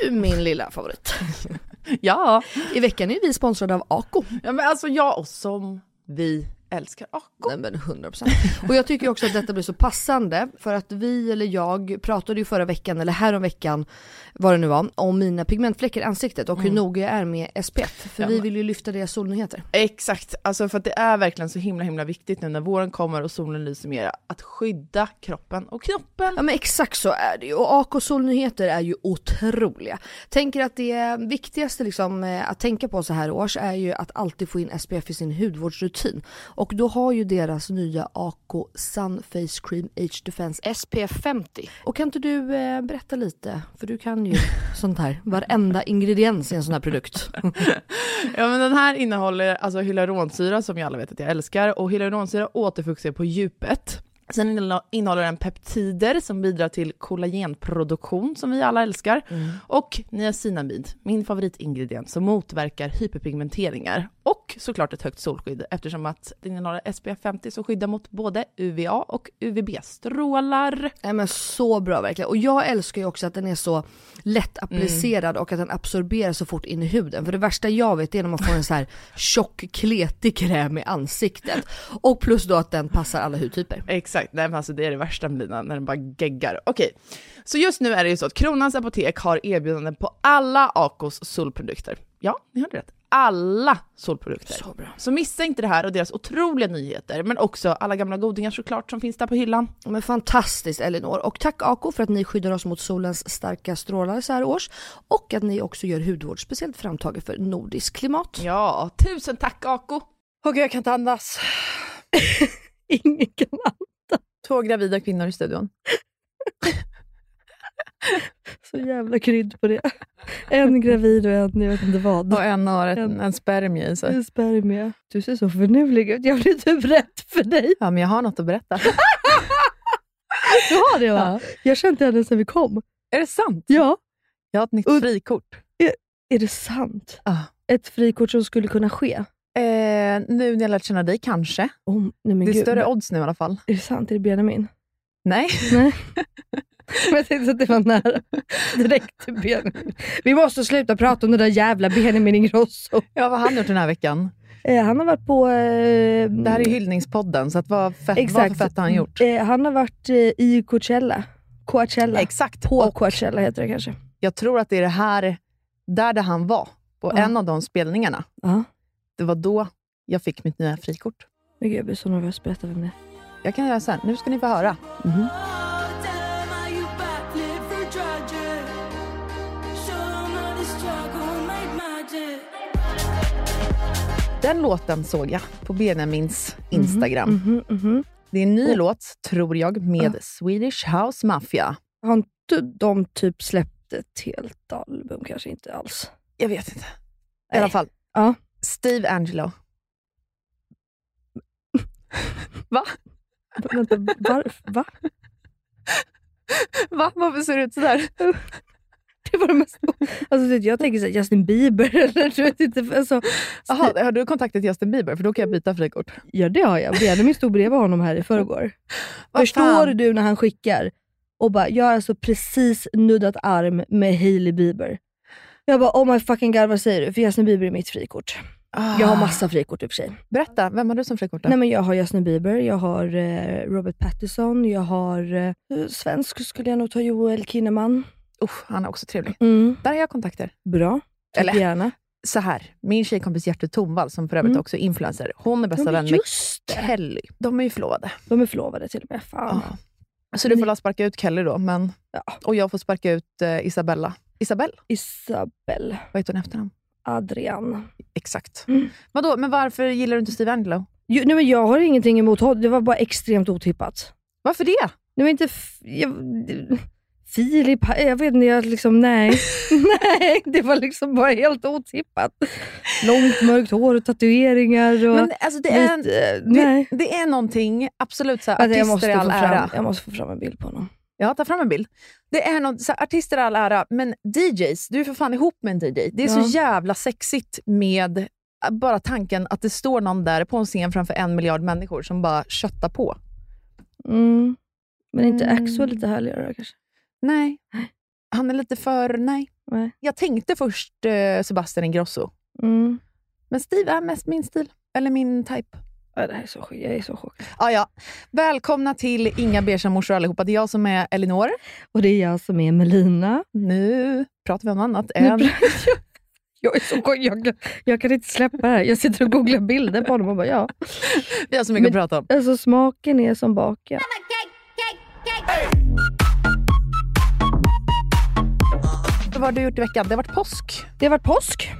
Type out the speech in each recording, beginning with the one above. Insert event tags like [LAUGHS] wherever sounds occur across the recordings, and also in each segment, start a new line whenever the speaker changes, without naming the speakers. Du min lilla favorit.
[LAUGHS] Ja.
I veckan är vi sponsrade av Ako.
ja, men alltså jag och som vi älskar Ako.
Nej men 100%. Och jag tycker också att detta blir så passande för att vi eller jag pratade ju förra veckan eller häromveckan vad det nu var om mina pigmentfläckar i ansiktet och hur noga jag är med SPF. För
Mm. Ja,
vi
men-
vill ju lyfta deras solnyheter.
Exakt, alltså för att det är verkligen så himla himla viktigt nu när våren kommer och solen lyser mera att skydda kroppen och knoppen.
Ja men exakt så är det ju och AK Solnyheter är ju otroliga. Tänker att det viktigaste liksom eh, att tänka på så här års är ju att alltid få in SPF i sin hudvårdsrutin. Och då har ju deras nya AK Sun Face Cream Age Defense SPF 50. Och kan inte du eh, berätta lite, för du kan ju [LAUGHS] sånt här, varenda ingrediens i en sån här produkt.
Ja, men den här innehåller alltså hyaluronsyra som jag alla vet att jag älskar och hyaluronsyra återfuktar på djupet. Sen innehå- innehåller den peptider som bidrar till kollagenproduktion som vi alla älskar. Och niacinamid, min favoritingrediens som motverkar hyperpigmenteringar. Och såklart ett högt solskydd eftersom att den innehåller SPF 50 som skyddar mot både UVA och UVB-strålar.
Nej men så bra verkligen. Och jag älskar ju också att den är så lätt
Mm.
applicerad och att den absorberas så fort in i huden. För det värsta jag vet är när man får en så
[LAUGHS]
här tjock kletig kräm i ansiktet. Och plus då att den passar alla hudtyper.
Exakt, nej men alltså det är det värsta med lina, när den bara geggar. Okej, så just nu är det ju så att Kronans Apotek har erbjudanden på alla Acos solprodukter. Ja, ni hörde rätt. Alla solprodukter. Så bra. Så missa inte det här och deras otroliga nyheter, men också alla gamla godingar såklart som finns där på hyllan.
Men fantastiskt Elinor! Och tack Ako för att ni skyddar oss mot solens starka strålar så här års. Och att ni också gör hudvård speciellt framtaget för nordisk klimat.
Ja, tusen tack Ako!
Åh gud, jag kan inte andas.
Ingen kan
Två gravida kvinnor i studion.
Så jävla krydd på det. En gravid och en jag vet inte vad.
Och en har ett,
En-
en spermie i sig.
En spermie. Du ser så förnulig ut. Jag blir typ rädd för dig.
Ja, men jag har något att berätta.
Du har det va?
Ja.
Jag kände inte henne sen vi kom.
Är det sant?
Ja.
Jag har ett nytt
Och-
frikort.
Är det sant?
Ja.
Ett frikort som skulle kunna ske?
Eh, nu när jag lärt känna dig, kanske.
Oh, nej men
det är
gud.
större odds nu i alla fall.
Är det sant? Är det Benjamin? [LAUGHS]
Nej.
Nej. Men jag tänkte att det var nära. Direkt till Benjamin. Vi måste sluta prata om den där jävla Benjamin Ingrosso.
Ja, vad har han gjort den här veckan?
Eh, han har varit på... Eh,
Det här är hyllningspodden, så att vad, fett, vad för
Exakt.
fett har han gjort?
Eh, han har varit eh, i Coachella. Coachella.
Exakt.
På
Och
Coachella heter det kanske.
jag tror att det är det här, där, där han var, på
Ja.
en av de spelningarna.
Ja.
Det var då jag fick mitt nya frikort.
Men gud, jag blir så nervös. Berätta vem det är.
Jag kan göra så här, nu ska ni få höra. Den låten såg jag på Benjamins Instagram.
Mhm, mhm.
Det är en ny
Och-
låt, tror jag, med Swedish House Mafia.
Har inte de typ släppt ett helt album? Kanske inte alls.
Jag vet inte. I
Nej.
alla fall.
Ja.
Steve Angelo.
V- Vänta, varför? Va?
Va? Varför ser du ut sådär?
[LAUGHS] Det var det mest... Alltså, du vet, jag tänker så här, Justin Bieber eller du vet inte. Alltså,
Jaha, har du kontaktat Justin Bieber? För då kan jag byta frikort.
ja det har jag. Benjamin stod bredvid honom här i [LAUGHS] förrgår.
Vad
Förstår
fan?
du när han skickar och bara, jag har alltså precis nuddat arm med Hailey Bieber. Jag bara, oh my fucking god vad säger du? För Justin Bieber är mitt frikort. Jag har massa frikort i och för sig.
Berätta, vem har du som frikort? då?
Nej, men jag har Justin Bieber, jag har eh, Robert Pattinson, jag har... Eh, svensk skulle jag nog ta Joel Kinnaman.
Usch, han är också trevlig.
Mm.
Där har jag kontakter.
Bra. Tack
Eller-
gärna.
Så här, min tjejkompis Gertrud Tomvall, som för övrigt
Mm.
också är influencer, hon är bästa
Ja, men
vän med
just det.
Kelly. De är ju förlovade.
De är förlovade till och med. Fan.
Ja. Så du får la sparka ut Kelly då, men,
Ja.
och jag får sparka ut eh, Isabella. Isabelle?
Isabel,
Vad heter hon i efternamn?
Adrian.
Exakt.
Mm.
Vadå, men varför gillar du inte Steve Angelo?
Jo, nej, men jag har ingenting emot honom, det var bara extremt otippat.
Varför det?
Nej, men inte... F- jag, det- Filip, jag vet inte, jag liksom, nej. nej, det var liksom bara helt otippat. Långt mörkt hår och tatueringar. Och
Men alltså det är,
lite, eh, nej.
det, det är någonting, absolut så här,
Vänta,
artister
jag, måste
i
få
all ära.
fram, jag måste få fram en bild på honom.
Ja, ta fram en bild. Det är något, så här, artister i all ära, men DJs, du är för fan ihop med en DJ. Det är
Ja.
så jävla sexigt med eh, bara tanken att det står någon där på en scen framför en miljard människor som bara köttar på.
Mm. Men inte
Mm.
Axel lite härligare då, kanske?
Nej. Han är lite för... Nej.
Nej.
Jag tänkte först eh, Sebastian Ingrosso,
Mm.
men Steve är mest min stil. Eller min type.
Ja, det här är så, sjukt. jag är så chockad.
Ah, ja. Välkomna till Inga beiga morsor allihopa. Det är jag som är Elinor.
Och det är jag som är Melina.
Nu pratar vi om annat
Nu
än...
pratar jag- Jag, är så, chockad. jag, kan- jag kan inte släppa det här. Jag sitter och googlar bilder på honom och bara ja.
Vi har så mycket
Men-
att prata om.
Alltså smaken är som baken.
Vad har du gjort i veckan? Det har varit påsk.
Det har varit påsk.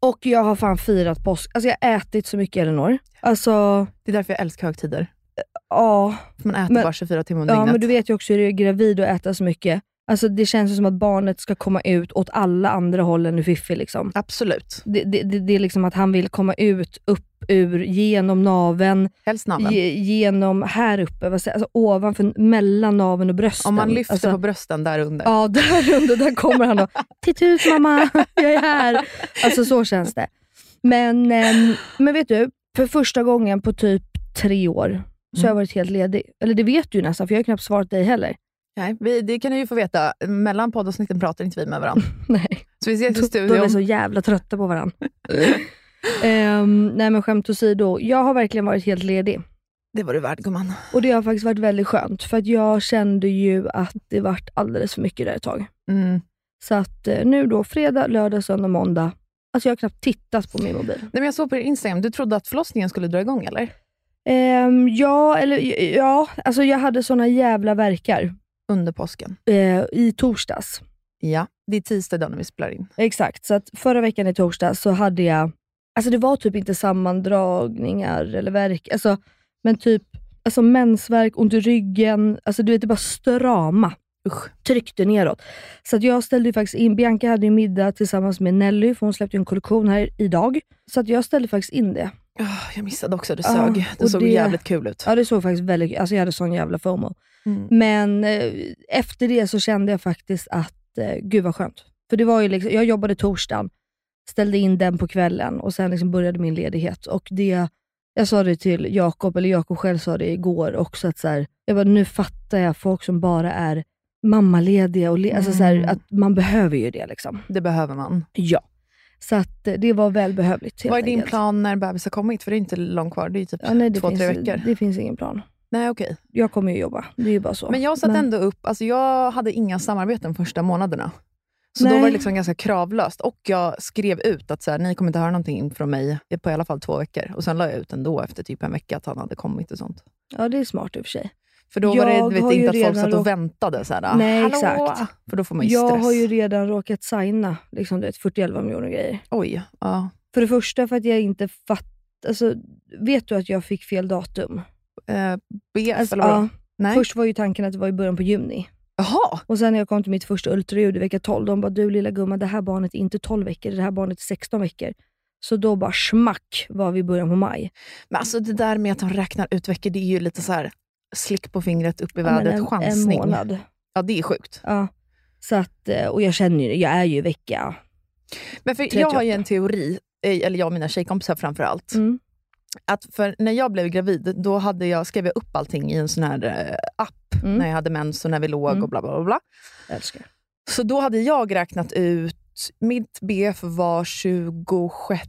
Och jag har fan firat påsk. Alltså jag har ätit så mycket Elinor. Alltså,
Det är därför jag älskar högtider.
ja.
För man äter
Men-
bara 24 timmar om
ja
dygnet.
men du vet ju också hur det är gravid och äta så mycket. Alltså det känns ju som att barnet ska komma ut åt alla andra håll än Fifi liksom.
Absolut.
Det, det, det, det är liksom att han vill komma ut, upp ur, genom naven,
Helst naveln.
ge, genom här uppe, vad säger, alltså ovanför, mellan naven och brösten.
Om man lyfter
alltså,
på brösten där under.
Ja, [LAUGHS] där under, där kommer han och “Titta ut mamma, jag är här”. Alltså så känns det. Men, ehm, men vet du, för första gången på typ tre år så har jag varit helt ledig. Eller det vet du ju nästan, för jag har knappt svarat dig heller.
Nej, vi, det kan ni ju få veta. Mellan poddavsnitten pratar inte vi med varandra.
[LAUGHS] Nej.
Så vi ses i
Då är
studion.
vi så jävla trötta på varandra. Ehm, nej men skämt åsido, jag har verkligen varit helt ledig.
Det var du värd gumman.
Och det har faktiskt varit väldigt skönt, för att jag kände ju att det vart alldeles för mycket där ett tag.
Mm.
Så att eh, nu då, fredag, lördag, söndag, måndag. Alltså jag har knappt tittat på min mobil.
Nej, men jag såg på din Instagram, du trodde att förlossningen skulle dra igång eller?
Ehm, ja, eller ja, alltså jag hade såna jävla verkar
Under påsken.
eh, i torsdags.
Ja, det är tisdag idag när vi spelar in.
Exakt, så att förra veckan i torsdags så hade jag, alltså det var typ inte sammandragningar eller verk, alltså, men typ alltså mensvärk, ont i ryggen, alltså du vet det bara strama.
Usch.
tryckte neråt. Så att jag ställde ju faktiskt in, Bianca hade ju middag tillsammans med Nelly, för hon släppte ju en kollektion här idag. Så att jag ställde faktiskt in det.
Ah, jag missade också, det
Ah,
sög. det
och
såg
det-
jävligt kul ut.
Ja det såg faktiskt väldigt, alltså jag hade sån jävla fomo.
Mm.
Men eh, efter det så kände jag faktiskt att, eh, gud vad skönt. För det var ju liksom, jag jobbade torsdagen, ställde in den på kvällen och sen liksom började min ledighet. Och det, jag sa det till Jakob, eller Jakob själv sa det igår också, att så här, jag bara, nu fattar jag folk som bara är mammalediga. Och le- alltså så här,
Mm.
att man behöver ju det. liksom.
Det behöver man.
Ja. Så att eh, det var välbehövligt. helt
Vad är din
enkelt.
plan när bebis har kommit? För det är inte långt kvar, det är ju typ
Ja, nej, det
två,
finns,
tre veckor.
Det finns ingen plan.
Nej, okej.
Jag kommer ju jobba, det är ju bara så.
Men jag satt ändå upp, alltså jag hade inga samarbeten första månaderna. Så då
Nej.
var det liksom ganska kravlöst. Och jag skrev ut att så här, ni kommer inte höra någonting från mig på i alla fall två veckor. Och sen la jag ut ändå efter typ en vecka att han hade kommit och sånt.
Ja, det är smart i och för sig.
För då var
Jag
det du
har
vet,
ju
inte att folk
redan
satt
råk-
och väntade. Så här,
Nej,
"Hallå!"
exakt.
För då får man ju
Jag
stress.
har ju redan råkat signa liksom, du vet, 41 miljoner grejer.
Oj, ja.
För det första för att jag inte fattar... Alltså, vet du att jag fick fel datum?
Eh, BF
Alltså,
eller vadå?
ja,
Nej.
först var ju tanken att det var i början på juni.
Jaha!
Och sen när jag kom till mitt första ultraljud i vecka 12, de bara du lilla gumman, det här barnet är inte 12 veckor, det här barnet är 16 veckor. Så då bara smack var vi i början på maj.
Men alltså det där med att de räknar ut veckor, det är ju lite så här slick på fingret, upp i
Ja, men
vädret,
en, en
chansning.
månad.
Ja, det är sjukt.
Ja. Så att, eh, och jag känner ju det, jag är ju i vecka.
Men för jag har ju
38.
en teori, eh, eller jag och mina tjejkompisar framför allt.
Mm.
Att för när jag blev gravid, då hade jag, skrev jag upp allting i en sån här eh, app.
Mm.
När jag hade mens och när vi låg
Mm.
och bla bla bla. bla.
Jag älskar det.
Så då hade jag räknat ut, mitt BF var 26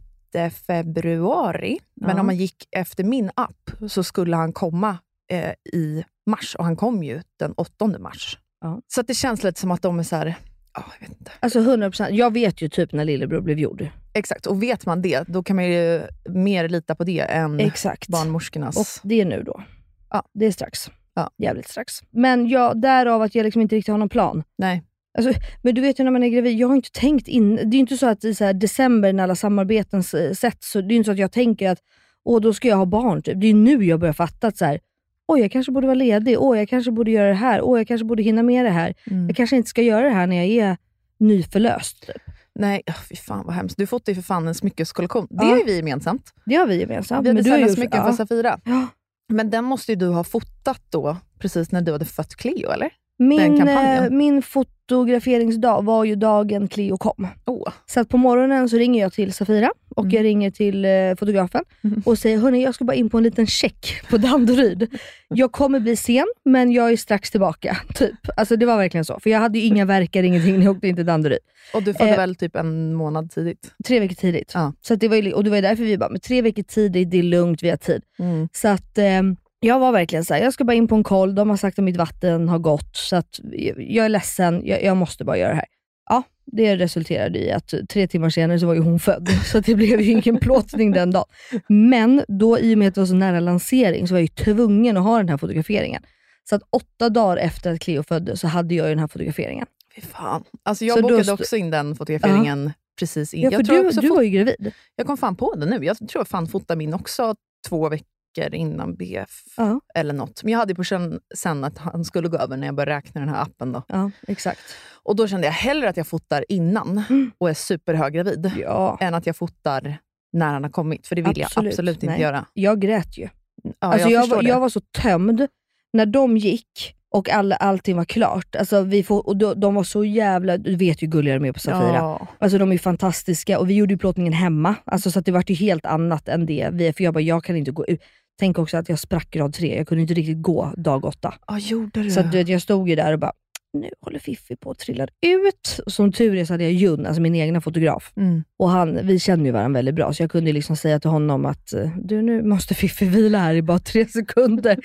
februari, men
Ja.
om man gick efter min app så skulle han komma eh, i mars och han kom ju den 8 mars.
Ja.
Så att det känns lite som att de är så här, ja, jag vet inte.
Alltså 100%, jag vet ju typ när lillebror blev gjord.
Exakt, och vet man det, då kan man ju mer lita på det än
Exakt.
barnmorskornas.
Och det är nu då.
Ja.
Det är strax.
Ja.
Jävligt strax. Men jag, därav att jag liksom inte riktigt har någon plan.
Nej.
Alltså, men du vet ju när man är gravid, jag har inte tänkt in. Det är ju inte så att i så här december när alla samarbeten eh, sätts, så det är ju inte så att jag tänker att åh, då ska jag ha barn. Typ. Det är ju nu jag börjar fatta att så här, åh, jag kanske borde vara ledig. Åh, jag kanske borde göra det här. Åh, jag kanske borde hinna med det här.
Mm.
Jag kanske inte ska göra det här när jag är nyförlöst. Typ.
Nej, oh, fy fan vad hemskt. Du fotade ju för fan en smyckeskollektion. Det
Ja.
är ju vi gemensamt.
Det har vi gemensamt.
vi
men du har
designade
gjort-
smycken
ja.
för Safira.
Ja.
Men den måste ju du ha fotat då, precis när du hade fött Cleo, eller?
Min,
kampanjen.
eh, min fotograferingsdag var ju dagen Cleo kom.
Åh.
Så att på morgonen så ringer jag till Safira och
Mm.
jag ringer till eh, fotografen
Mm.
och säger hörni jag ska bara in på en liten check på Danderyd. Jag kommer bli sen men jag är strax tillbaka. Typ. Alltså det var verkligen så. För jag hade ju inga verkar, ingenting när jag åkte in till Danderyd.
Och du födde
Eh.
väl typ en månad tidigt?
Tre veckor tidigt.
Ja.
Så att det var ju, och det var ju därför vi bara, men tre veckor tidigt, det är lugnt, vi har tid.
Mm.
Så att eh, jag var verkligen så här, jag ska bara in på en koll, de har sagt att mitt vatten har gått, så att eh, jag är ledsen, jag, jag måste bara göra det här. Ja, det resulterade i att tre timmar senare så var ju hon född, [LAUGHS] så att det blev ju ingen plåtning den dagen. Men då, i och med att det var så nära lansering, så var jag ju tvungen att ha den här fotograferingen. Så att åtta dagar efter att Cleo föddes så hade jag ju den här fotograferingen.
Fy fan. Alltså jag
Så då
bokade
st-
också in den fotograferingen precis in.
Ja, för
jag, tror
du,
också
du
fot-
var ju gravid.
jag kom fan på det nu. Jag tror jag fan fotade min också två veckor innan BF
Ja.
eller något. Men jag hade ju på känn sen att han skulle gå över när jag började räkna den här appen. Då.
Ja, exakt.
Och då kände jag hellre att jag fotar innan
Mm.
och är superhöggravid
Ja.
än att jag fotar när han har kommit. För det vill
Absolut.
jag absolut inte
Nej.
göra.
Jag grät ju.
Ja,
Alltså jag,
förstår
var,
det.
jag var så tömd när de gick och all, allting var klart. Alltså vi får, och då, de var så jävla... Du vet ju hur gulliga de är på Safira.
Ja.
Alltså de är ju fantastiska och vi gjorde ju plåtningen hemma. Alltså, så att det vart ju helt annat än det vi... För jag bara, jag kan inte gå ut. Tänk också att jag sprack grad tre. Jag kunde inte riktigt gå dag åtta.
Ja, gjorde du?
Så att, du vet, jag stod ju där och bara, nu håller Fiffi på att trilla ut. Och Som tur är så hade jag Jun, alltså min egna fotograf.
Mm.
Och han, vi känner ju varandra väldigt bra, så jag kunde ju liksom säga till honom att eh, du nu måste Fiffi vila här i bara tre [LAUGHS] sekunder.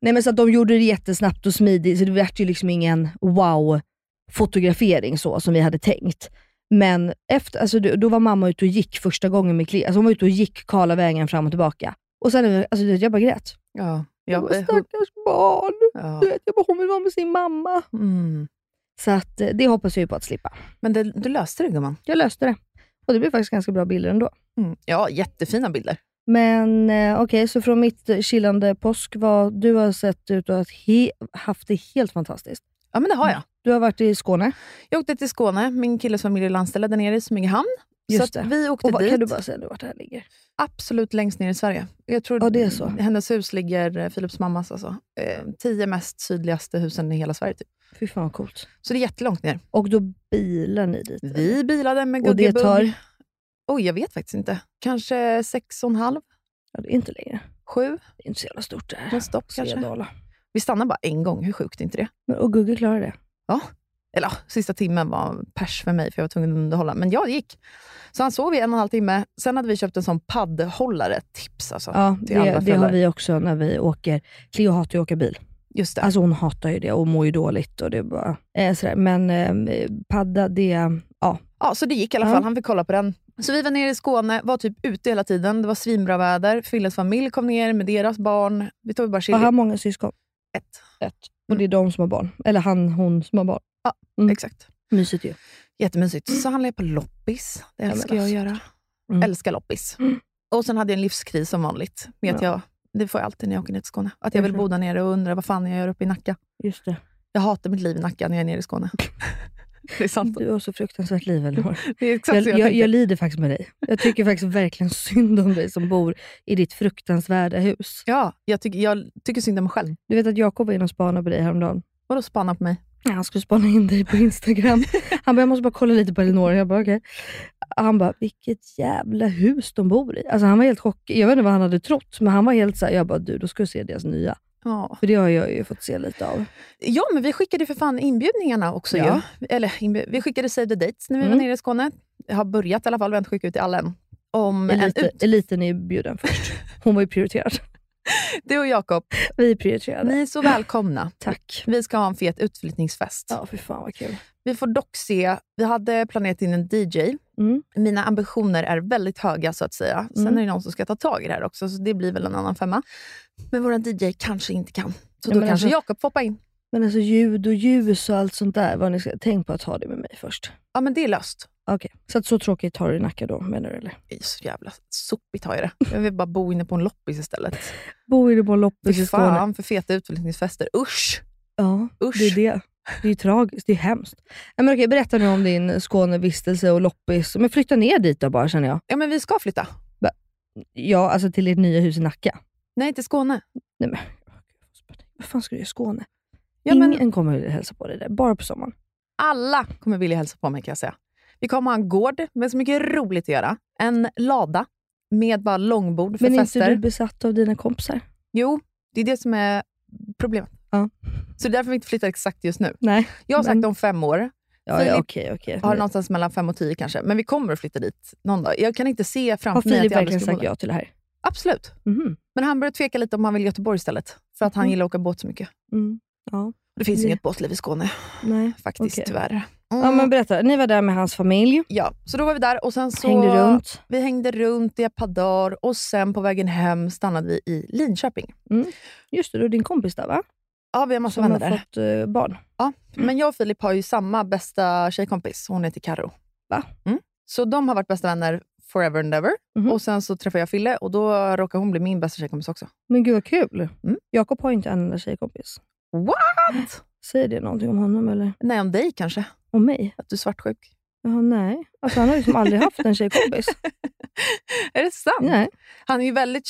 Nej men så att de gjorde det jättesnabbt och smidigt, så det vart ju liksom ingen wow-fotografering så som vi hade tänkt. Men efter, alltså, du- då var mamma ute och gick första gången med Cleo. Alltså hon var ute och gick Karlavägen fram och tillbaka. Och sen, alltså, du vet, jag bara grät.
ja.
Jag
Jag,
bara, stackars barn.
ja.
Du vet, jag bara, hon vill vara med sin mamma.
Mm.
Så att, eh, det hoppas jag ju på att slippa.
Men det, du löste det gumman. Mm.
Jag löste det. Och det blev faktiskt ganska bra bilder ändå.
Ja, jättefina bilder.
Men eh, okej, så från mitt eh, chillande påsk, vad du har sett ut och att he- haft det helt fantastiskt.
Ja, men det har jag.
Du har varit i Skåne.
Jag åkte till Skåne. Min killes familj är landställda där nere i Smygehamn.
Just
så att
det.
vi åkte
Och vad,
dit.
kan du bara säga nu vart det här ligger?
Absolut längst ner i Sverige. Jag tror
Ja, det är så.
Hennes hus ligger, eh, Philips mammas alltså, eh, tio mest sydligaste husen i hela Sverige. Typ.
Fy fan vad coolt.
Så det är jättelångt ner.
Och då bilar ni dit?
Vi bilade med
Och det
Guggebugg.
tar?
Oj, jag vet faktiskt inte. Kanske sex och en halv,
Ja, det är inte längre.
sju.
Det är inte så jävla stort det här.
Något stopp kanske.
Svedala.
Vi stannade bara en gång. Hur sjukt är inte det?
Men, och Gugge klarar det.
Eller ja, sista timmen var pers för mig, för jag var tvungen att underhålla. Men jag gick. Så han sov i en och en halv timme. Sen hade vi köpt en sån paddhållare. Tips alltså.
Ja,
till alla
det, det har
föräldrar.
vi också när vi åker. Cleo hatar ju att åka bil.
Just det.
Alltså hon hatar ju det och mår ju dåligt. Och det är bara, eh, sådär. Men eh, padda, det... Ja.
Ja, så det gick i alla
Ja.
fall. Han fick kolla på den. Så vi var nere i Skåne, var typ ute hela tiden. Det var svinbra väder. Filles familj kom ner med deras barn. Vi tog bara chili.
Har han många syskon?
Ett.
Och det är de som har barn. Eller han, hon som har barn. Mm.
Exakt.
Mysigt ju.
Jättemysigt. Så handlade jag på loppis. Det
men
älskar jag att
alltså.
göra.
Mm.
Älskar loppis. Och sen hade jag en livskris som vanligt. Vet
Ja.
jag, det får jag alltid när jag åker ner till Skåne. Att jag vill bo där nere och undra vad fan jag gör uppe i Nacka.
Just det.
Jag hatar mitt liv i Nacka när jag är nere i Skåne. [LAUGHS] det är sant.
Du har så fruktansvärt liv,
[LAUGHS]
Elinor.
Det är exakt
Mm. Jag,
så Alltså, jag,
jag,
tänker.
jag lider faktiskt med dig. Jag tycker faktiskt verkligen synd om dig som bor i ditt fruktansvärda hus.
Ja, jag, tycker jag tycker synd om mig själv.
Du vet att Jakob var inne och spanade på dig häromdagen.
Vadå spana på mig?
Ja, han skulle spana in dig på [LAUGHS] Instagram. Han bara, jag måste bara kolla lite på Elinor. Jag bara, okej. Han bara, vilket jävla hus de bor i. Alltså han var helt chockad. Jag vet inte vad han hade trott, men han var helt såhär, jag bara, du då ska du se deras nya.
Ja.
För det har jag ju fått se lite av.
ja, men vi skickade ju för fan inbjudningarna också.
Ja.
Ju. Eller, inbju- vi skickade Save the Dates när vi
Mm.
var nere i Skåne. Jag har börjat i alla fall, vi har inte skickat ut till alla än. Om en
Elite,
ut.
eliten är ju bjuden [LAUGHS] först. Hon var ju prioriterad.
Du och Jakob,
Vi är prioriterade.
ni är så välkomna.
Tack.
Vi ska ha en fet utflyttningsfest.
Ja, fy fan vad kul.
Vi får dock se, vi hade planerat in en DJ.
Mm.
Mina ambitioner är väldigt höga så att säga. Sen
Mm.
är det någon som ska ta tag i det här också, så det blir väl en annan femma. Men våran DJ kanske inte kan. Så
Ja,
då
men
kanske
alltså-
Jakob får hoppa in.
Men alltså ljud och ljus och allt sånt där. Vad ni ska, tänk på att ha det med mig först.
Ja, men det är löst.
Okej, så att så tråkigt har du i Nacka då menar du eller?
Det är Så jävla sopigt har jag det. Jag vill bara bo inne på en loppis istället.
Bor du på en loppis
Fy
i Skåne?
fan för feta utflyttningsfester. Usch!
Ja,
Usch.
det är det. Det är ju tragiskt, det är hemskt. Nej, men okej, berätta nu om din Skånevistelse och loppis. Men flytta ner dit då bara känner jag.
Ja, men vi ska flytta.
Ja, alltså till ert nya hus i Nacka.
Nej, till Skåne.
Nej men, vad fan ska du göra i Skåne?
Ja, men
Ingen kommer att hälsa på dig där, bara på sommaren.
alla kommer vilja hälsa på mig kan jag säga. Vi kommer ha en gård med så mycket roligt att göra. En lada med bara långbord för
Men är inte
fester.
du besatt av dina kompisar?
Jo, det är det som är problemet.
Ja.
Så det är därför vi inte flyttar exakt just nu.
Nej.
Jag har sagt
Men-
om fem år,
Ja,
Filip
ja okej. okej.
har någonstans mellan fem och tio kanske, men vi kommer att flytta dit någon dag. Jag kan inte se
Har
framför mig att
Filip
jag aldrig
verkligen
ska bo
sagt
där.
ja till det här?
Absolut.
Mhm.
Men han börjar tveka lite om han vill Göteborg istället, för att han
Mhm.
gillar att åka båt så mycket.
Mm. Ja,
Det finns
Det-
inget båtliv i Skåne
nej.
faktiskt,
Okej.
tyvärr. Mm.
Ja, men berätta, ni var där med hans familj,
ja, så då var vi där och sen så...
hängde runt.
Vi hängde runt i ett par dagar och sen på vägen hem stannade vi i Linköping.
Mm. Just det, du är din kompis där va?
Ja, vi har massa
Som har
vänner där.
fått eh, barn.
Men jag och Filip har ju samma bästa tjejkompis. Hon heter Karo.
Va?
Mm. Så de har varit bästa vänner forever and ever.
Mhm.
Och sen så träffade jag Fille och då råkar hon bli min bästa tjejkompis också.
Men gud vad kul.
Mm.
Jakob har ju inte en enda tjejkompis.
What?
Säger det någonting om honom eller
Nej, om dig kanske.
om mig?
Att du är svartsjuk.
Jaha, nej. Alltså, han har ju som aldrig haft en tjejkompis.
Är det sant?
nej.
[LAUGHS] Han är ju väldigt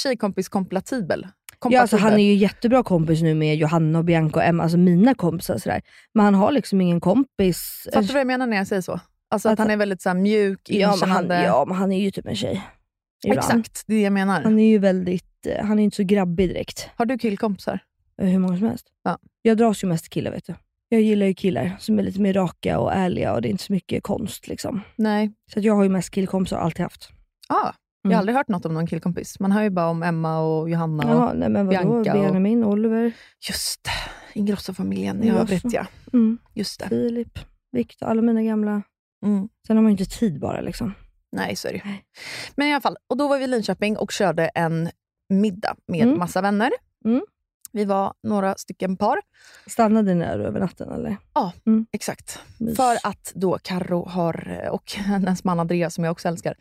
tjejkompis-kompatibel.
Ja, alltså, han är
Kompatibel.
ju jättebra kompis nu med Johanna och Bianca och Emma, alltså mina kompisar. Sådär. Men han har liksom ingen kompis.
Fattar du vad jag menar när jag säger så? Alltså att,
Att-
han är väldigt så här, mjuk,
ja, men han,
inkännande.
ja, men han är ju typ en tjej. Ibland.
Exakt, det är det jag menar.
Han är ju väldigt, eh, han är ju inte så grabbig direkt.
Har du killkompisar?
Eh, Hur många som helst.
Ja.
Jag dras ju mest till killar vet du. Jag gillar ju killar som är lite mer raka och ärliga och det är inte så mycket konst liksom.
Nej.
Så att jag har ju mest killkompisar och alltid haft.
Ah, jag har
Mm.
aldrig hört något om någon killkompis. Man hör ju bara om Emma och Johanna. Och...
Jaha, nej men vadå?
Bianca och-
Benjamin, Oliver,
Just det, Ingrosso-familjen. Jag
Ingrosso.
vet ja.
mm.
Just det.
Filip, Viktor, alla mina gamla.
Mm.
Sen har man ju inte tid bara liksom.
Nej, så är det ju.
Nej.
Men i alla fall, och då var vi i Linköping och körde en middag med
Mm.
massa vänner.
Mm.
Vi var några stycken par.
Stannade ni där över natten eller? Mm.
Exakt.
Mys.
För att då Karo har, eh, och [LAUGHS] hennes man Andreas, som jag också älskar,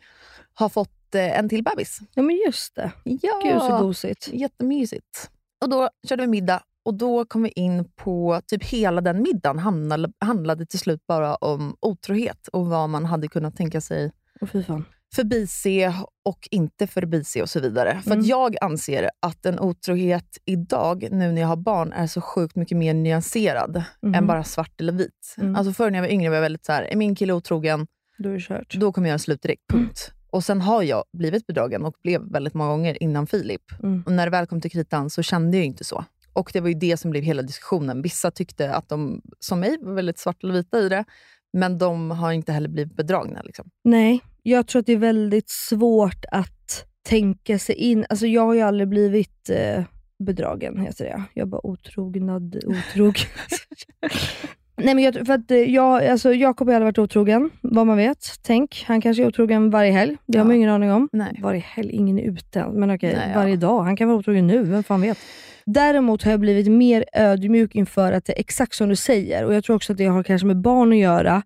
har fått eh, en till bebis.
Ja men just det.
Ja.
Gud så gosigt.
Jättemysigt. Och då körde vi middag och då kom vi in på typ hela den middagen handlade, handlade till slut bara om otrohet och vad man hade kunnat tänka sig
Och fy fan.
förbise och inte förbise och så vidare. För
Mm.
att jag anser att en otrohet idag, nu när jag har barn, är så sjukt mycket mer nyanserad
Mhm.
än bara svart eller vit.
Mm.
Alltså förr när jag var yngre var jag väldigt så här, är min kille otrogen,
Då är det kört. Mm.
då kommer jag göra slut direkt. Punkt. Och sen har jag blivit bedragen och blev väldigt många gånger innan Filip.
Mm.
Och när det väl kom till kritan så kände jag ju inte så. Och det var ju det som blev hela diskussionen. Vissa tyckte att de, som mig, var väldigt svart eller vita i det. Men de har inte heller blivit bedragna. Liksom.
Nej, jag tror att det är väldigt svårt att tänka sig in. Alltså jag har ju aldrig blivit eh, bedragen, heter det. Jag bara otrognad, otrogen. [LAUGHS] Nej men jag, tror- för att eh, jag, alltså Jakob har aldrig varit otrogen, vad man vet. Tänk, han kanske är otrogen varje helg. Det har man
Ja.
ju ingen aning om.
Nej.
Varje helg, ingen är ute än. Men okej,
Nej, ja.
varje dag. Han kan vara otrogen nu, vem fan vet. Däremot har jag blivit mer ödmjuk inför att det är exakt som du säger. Och Jag tror också att det har kanske med barn att göra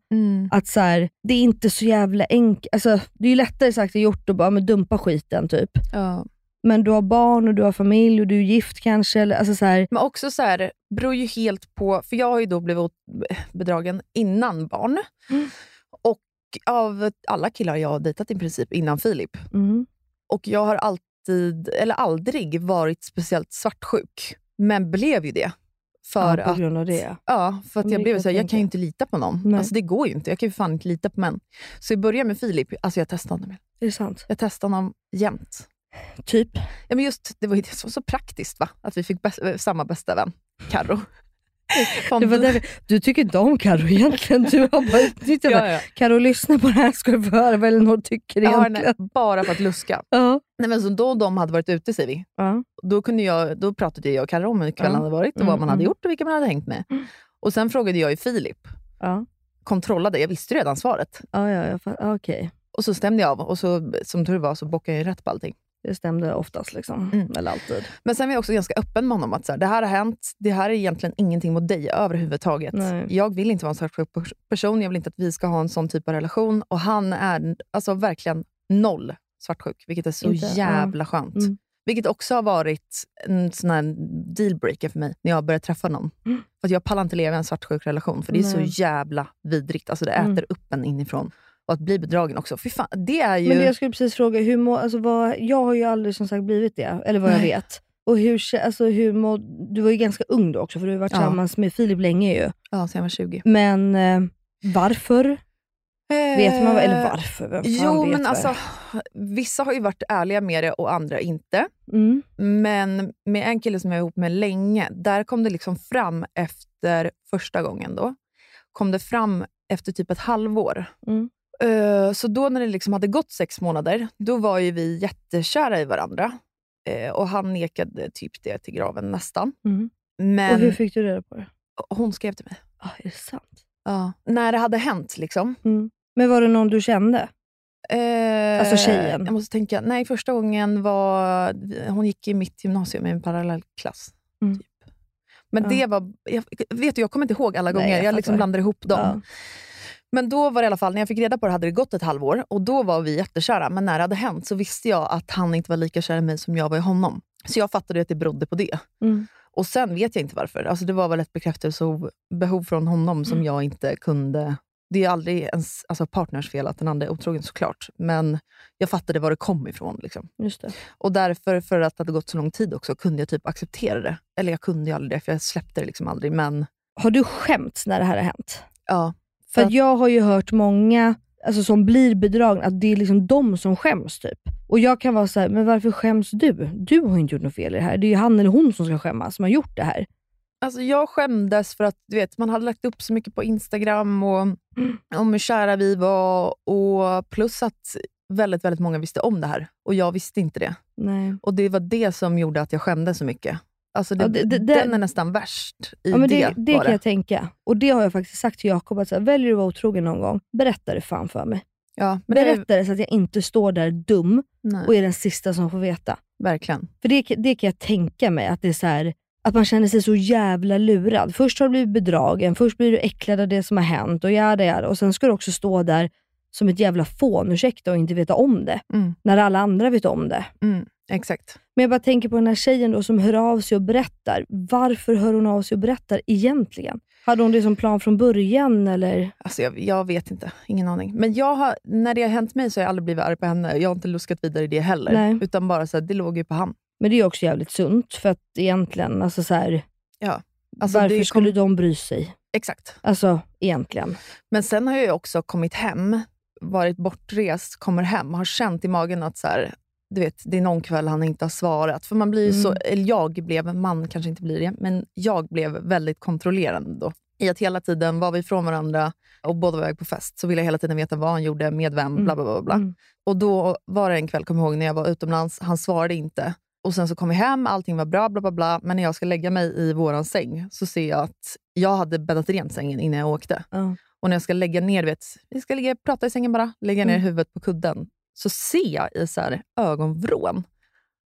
att så här, det är inte så jävla enkelt. Alltså, det är ju lättare sagt än gjort att bara men dumpa skiten. typ.
Ja.
Men du har barn och du har familj och du är gift kanske. Eller, alltså så här,
Men också så här, beror ju helt på, för jag har ju då blivit ot- bedragen innan barn.
Mm.
Och av alla killar jag har dejtat i princip innan Filip.
mm,
Och jag har alltid, eller aldrig varit speciellt svartsjuk, men blev ju det.
Ja,
För
på
att,
grund av det.
Ja, för
Men
att
det
jag blev
kan
så här,
jag
jag kan ju
tänka.
inte lita på någon.
Nej.
Alltså det går ju inte. Jag kan ju fan inte lita på män. Så i början med Filip, alltså jag testade honom.
Är det sant?
Jag testade honom jämt.
Typ.
Ja, men just, det var ju det som var så praktiskt, va? att vi fick bäst, eh, samma bästa vän, Karo. Fan,
Det var
du-
därför, du tycker inte om Karo egentligen. Du har bara utnyttjat
ja,
det.
ja.
Karo lyssna på det här ska du få höra vad Elinor [LAUGHS] tycker
Jag har
egentligen.
henne bara för att luska.
Ja.
Nej, men så då och de hade varit ute, säger vi.
Ja.
Då, kunde jag, då pratade jag och Kalle om hur kvällen
Ja.
hade varit och vad
Mm,
man hade
mm.
gjort och vilka man hade hängt med. Och Sen frågade jag ju Filip.
Ja.
Kontrollade, jag visste ju redan svaret.
Ja, ja, jag fatt- ja, okej.
Och så stämde jag av och så, som tur var så bockade jag ju rätt på allting.
Det stämde oftast liksom.
Mm.
Eller alltid.
Men sen var jag också ganska öppen med honom att så här, det här har hänt. Det här är egentligen ingenting mot dig överhuvudtaget.
Nej.
Jag vill inte vara en svartsjuk pers- person. Jag vill inte att vi ska ha en sån typ av relation. Och han är alltså verkligen noll svartsjuk, vilket är så
Inte, ja.
jävla skönt.
Mm.
Vilket också har varit en sån här dealbreaker för mig när jag började träffa någon. För att jag pallar inte leva i en svartsjuk relation, för det är så
Mm. Nej.
jävla vidrigt. Alltså det äter
Mm.
upp en inifrån. Och att bli bedragen också. Fy fan, det är ju...
Men det jag skulle precis fråga, hur må, alltså vad, jag har ju aldrig som sagt blivit det, eller vad jag
Nej.
vet. Och hur, kä- alltså hur må, du var ju ganska ung då också, för du har ju varit
Ja.
tillsammans med Filip länge ju.
Ja, sen jag var 20.
Men eh, varför? Vet man vad- eller
Eh.
varför? Vem fan
Jo,
vet
men
vad-
alltså, vissa har ju varit ärliga med det och andra inte.
Mm.
Men med en kille som jag var ihop med länge, där kom det liksom fram efter första gången. då. kom det fram efter typ ett halvår.
Mm.
Eh, Så då när det liksom hade gått sex månader, då var ju vi jättekära i varandra. Eh, Och han nekade typ det till graven nästan.
Mm. Och
Men
hur fick du reda på det?
hon skrev till mig.
Ah, är det sant?
När det hade hänt liksom.
Mm. Men var det någon du kände?
Eh,
Alltså tjejen.
Jag måste tänka. Nej, första gången var... Hon gick i mitt gymnasium i en parallellklass.
Mm.
Typ. Men
Ja.
det var... Jag, vet du, jag kommer inte ihåg alla
Nej,
gånger.
jag
jag liksom
fattar.
blandar ihop dem.
Ja.
Men då var det i alla fall, när jag fick reda på det hade det gått ett halvår och då var vi jättekära. Men när det hade hänt så visste jag att han inte var lika kär i mig som jag var i honom. Så jag fattade ju att det berodde på det.
Mm.
Och sen vet jag inte varför. Alltså det var väl ett bekräftelsebehov från honom som jag inte kunde... Det är aldrig ens alltså partners fel att den andra är otrogen såklart. Men jag fattade var det kom ifrån. Liksom.
Just det.
Och därför, för att det hade gått så lång tid också, kunde jag typ acceptera det. Eller jag kunde ju aldrig det, för jag släppte det liksom aldrig. Men
Har du skämts när det här har hänt?
ja,
För
För
att jag har ju hört många alltså, som blir bedragna, att det är liksom de som skäms. typ. Och jag kan vara så här, men varför skäms du? Du har ju inte gjort något fel i det här. Det är ju han eller hon som ska skämmas, som har gjort det här.
Alltså jag skämdes för att du vet, man hade lagt upp så mycket på Instagram och om hur kära vi var. Och plus att väldigt, väldigt många visste om det här och jag visste inte det.
Nej.
Och Det var det som gjorde att jag skämdes så mycket. Alltså det,
Ja, det- det- det-
den är nästan värst i
Ja, men det,
det
det
var
kan jag tänka. Och det har jag faktiskt sagt till Jakob, att så här, väljer du att vara otrogen någon gång, berätta det fan för mig.
Ja, men det,
Berätta det så att jag inte står där dum
nej,
och är den sista som får veta.
verkligen.
För det, det kan jag tänka mig, att det är så här, att man känner sig så jävla lurad. Först har du blivit bedragen, först blir du äcklad av det som har hänt och jada, jada. och sen ska du också stå där som ett jävla fån, ursäkta, och inte veta om det.
Mm.
När alla andra vet om det.
Mm, exakt.
Men jag bara tänker på den här tjejen då som hör av sig och berättar. Varför hör hon av sig och berättar egentligen? Hade hon det som plan från början eller?
Alltså jag, jag vet inte, ingen aning. Men jag har, när det har hänt mig så har jag aldrig blivit arg på henne. Jag har inte luskat vidare i det heller.
Nej.
Utan bara så här, det låg ju på han.
Men det är också jävligt sunt för att egentligen, alltså så här,
Ja, alltså
varför
det kom-
skulle de bry sig?
Exakt.
Alltså egentligen.
Men sen har jag ju också kommit hem, varit bortrest, kommer hem och har känt i magen att så här, du vet, det är någon kväll han inte har svarat. För man blir ju så,
Mm.
eller jag blev, man kanske inte blir det, men jag blev väldigt kontrollerande då. I att hela tiden var vi ifrån varandra och båda var iväg på fest, så ville jag hela tiden veta vad han gjorde, med vem, bla bla bla. bla.
Mm.
Och då var det en kväll, kommer jag ihåg, när jag var utomlands. Han svarade inte. Och Sen så kom vi hem, allting var bra, bla bla bla. Men när jag ska lägga mig i våran säng så ser jag att jag hade bäddat rent sängen innan jag åkte.
Ja.
Och när jag ska lägga ner, du vet, vi ska ligga, prata i sängen bara, lägga ner huvudet på kudden, så ser jag i så här ögonvrån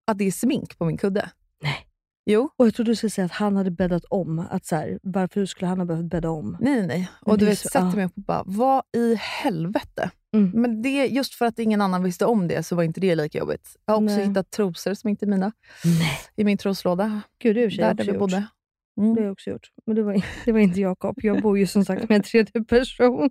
att det är smink på min kudde.
Nej.
Jo.
Och jag trodde du skulle säga att han hade bäddat om. Att så här, varför skulle han ha behövt bädda om?
Nej, nej, nej.
Men
Och du
det är
vet,
så-
sätter
ja.
mig upp och bara, vad i helvete?
Mm.
Men det, just för att ingen annan visste om det så var inte det lika jobbigt. Jag har också
Nej.
hittat trosor som inte är mina
Nej.
i min troslåda,
Gud, det har jag i och för sig
där,
också
där vi
gjort.
bodde.
Det har
Mm.
jag också gjort. Men det var, det var inte Jakob. Jag bor ju som sagt med en tredje person.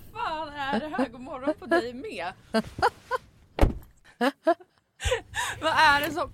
fan är det här? God morgon på dig med. vad, är det som,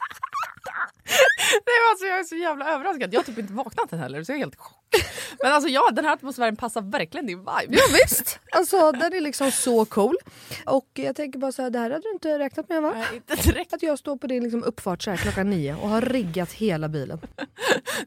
Nej, men alltså, jag är så jävla överraskad. Jag har typ inte vaknat än heller så jag är helt i chock. Men alltså ja, den här atmosfären passar verkligen din vibe.
Ja, visst, alltså den är liksom så cool. Och jag tänker bara så här, det här hade du inte räknat med va?
Nej, inte direkt.
Att jag står på din liksom uppfart så här klockan nio och har riggat hela bilen.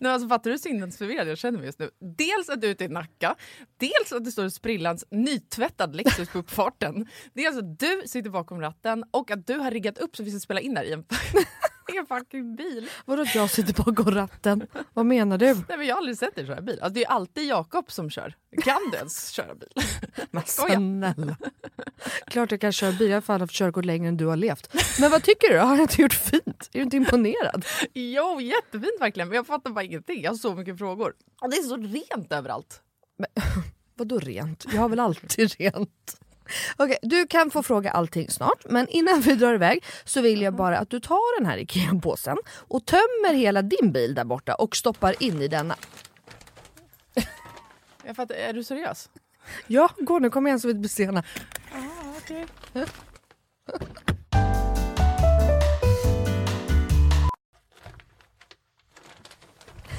Nej, alltså, fattar du hur sinnesförvirrad jag känner mig just nu? Dels att du är ute i Nacka, dels att det står en sprillans nytvättad Lexus på uppfarten. Dels att du sitter bakom ratten och att du har riggat upp så vi ska spela in där i en, [LAUGHS] i en fucking bil.
Vadå att jag sitter bakom ratten? Vad menar du?
Nej, men jag har aldrig sett dig köra bil. Alltså, det är ju alltid Jakob som kör. Kan du ens köra bil? Skoja.
Snälla. [LAUGHS] Klart jag kan köra bil, jag har fan haft körkort längre än du har levt. Men vad tycker du? Har jag inte gjort fint? Är du inte imponerad?
Jo, jättefint verkligen. Men jag fattar bara ingenting. Jag har så mycket frågor. Och det är så rent överallt.
[LAUGHS] Vadå rent? Jag har väl alltid [LAUGHS] rent? Okej, du kan få fråga allting snart, men innan vi drar iväg så vill jag bara att du tar den här IKEA-påsen och tömmer hela din bil där borta och stoppar in i denna.
Jag fattar, är du seriös?
Ja, gå nu, kom igen så vi inte blir sena.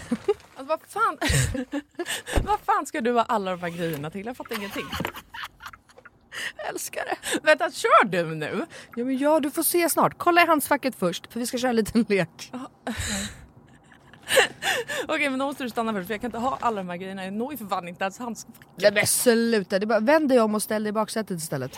Alltså, vad, fan... [LAUGHS] vad fan ska du ha alla de här grejerna till? Jag fattar ingenting. Jag älskar det. Vänta, kör du nu?
Ja, men ja, du får se snart. Kolla i handskfacket först, för vi ska köra en liten lek.
Okej, men då måste du stanna först för jag kan inte ha alla de här grejerna. Jag når ju för fan inte ens hans...
Nej men sluta, det är bara, vänd dig om och ställ dig i baksätet istället.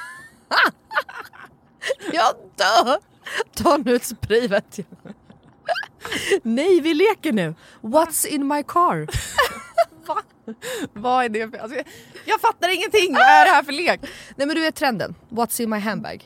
Jag dör! Ta nu ett spray vet jag. Nej vi leker nu! What's in my [LAUGHS] car?
Va? Vad är det för... Alltså, jag, jag fattar ingenting! Vad är det här för lek?
Nej men du vet trenden, what's in my handbag?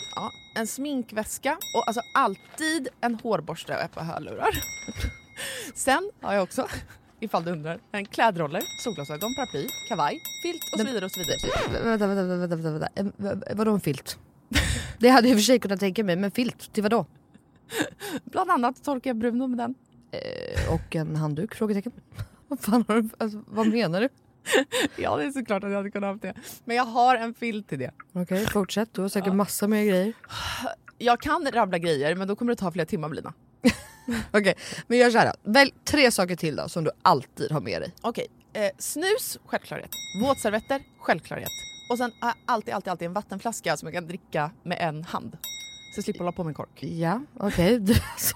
Ja, en sminkväska och alltså alltid en hårborste och ett par hörlurar. [LAUGHS] Sen har jag också, ifall du undrar, en klädroller, solglasögon, paraply, kavaj, filt och så vidare och så vidare.
Eh, Vänta, vänta, vänta, vänta, vänta. Eh, v- Vadå en [LAUGHS] filt? Det hade jag i och för sig kunnat tänka mig, men filt till vadå?
Bland annat torkar jag Bruno med den. [LAUGHS]
Eh, Och en handduk? Frågetecken. [LAUGHS] Vad fan har du, alltså, vad menar du?
Ja, det är såklart att jag hade kunnat ha haft det. Men jag har en filt till det.
Okej, fortsätt. Du har säkert massa mer grejer.
Jag kan rabbla grejer, men då kommer det ta flera timmar Blina.
Okej, men gör såhär då. Välj tre saker till då som du alltid har med dig.
Okej, eh, snus, självklarhet. Våtservetter, självklarhet. Och sen har jag alltid, alltid, alltid en vattenflaska som jag kan dricka med en hand. Så jag slipper hålla på med en kork.
Ja, okej. Du, alltså,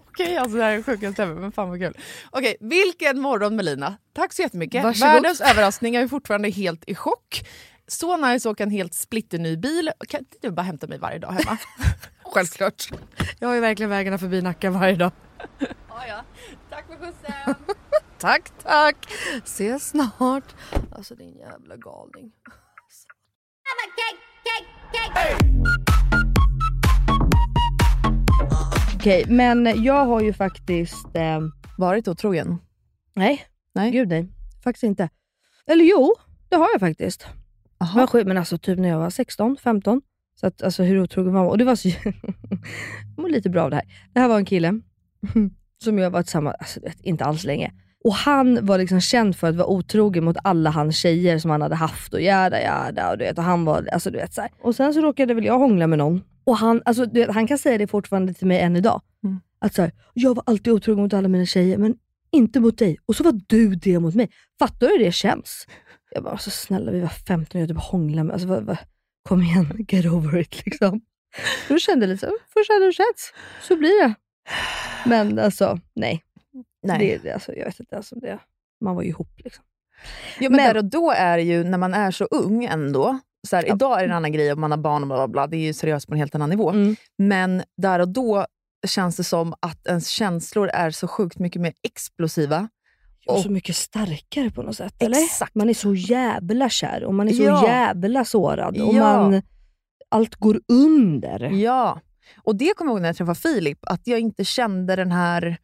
Okej, alltså det här är sjukast ever, men fan vad kul. Okej, vilken morgon Melina. Tack så jättemycket.
Varsågod.
Världens överraskning, jag är fortfarande helt i chock. Så nice att åka en helt splitterny bil. Kan inte du bara hämta mig varje dag [LAUGHS] hemma?
Självklart. Jag har ju verkligen vägarna förbi Nacka varje dag.
Tack för skjutsen.
Tack, tack. Ses snart. Alltså din jävla galning.
Okej, men jag har ju faktiskt... Eh,
Varit otrogen?
nej.
Nej.
Gud nej. Faktiskt inte. Eller jo, det har jag faktiskt.
Aha.
Var sjuk, men alltså typ när jag var 16, 15. Så att, alltså hur otrogen man var. Och det var så... jag [LAUGHS] mår lite bra av det här. Det här var en kille [LAUGHS] som jag varit tillsammans alltså, du vet, inte alls länge. Och Han var liksom känd för att vara otrogen mot alla hans tjejer som han hade haft och jäda jäda. Och du vet, och han var, alltså, du vet, så här. Och sen så råkade väl jag hångla med någon. Och Han, alltså, du vet, han kan säga det fortfarande till mig än idag.
Mm.
Att så här, Jag var alltid otrogen mot alla mina tjejer, men inte mot dig. Och så var du det mot mig. Fattar du hur det känns? Jag bara, alltså, snälla vi var 15 och jag typ hånglade med... Alltså, vad, vad, kom igen, [LAUGHS] get over it liksom. Då kände jag lite, så här, först hade det känts, så blir det. Men alltså, nej.
Nej.
Det, det, alltså, jag vet inte, alltså, det, man var ju ihop liksom.
Jo, men,
Men-
där och då är det ju, när man är så ung ändå, så här,
Ja.
idag är det en annan grej om man har barn och bla bla bla, det är ju seriöst på en helt annan nivå.
Mm.
Men där och då känns det som att ens känslor är så sjukt mycket mer explosiva.
Och
Och-
så mycket starkare på något sätt, eller?
Exakt.
Man är så jävla kär och man är så
Ja.
jävla sårad och
Ja.
man, allt går under.
Ja. Och det kommer jag ihåg när jag träffade Filip, att jag inte kände den här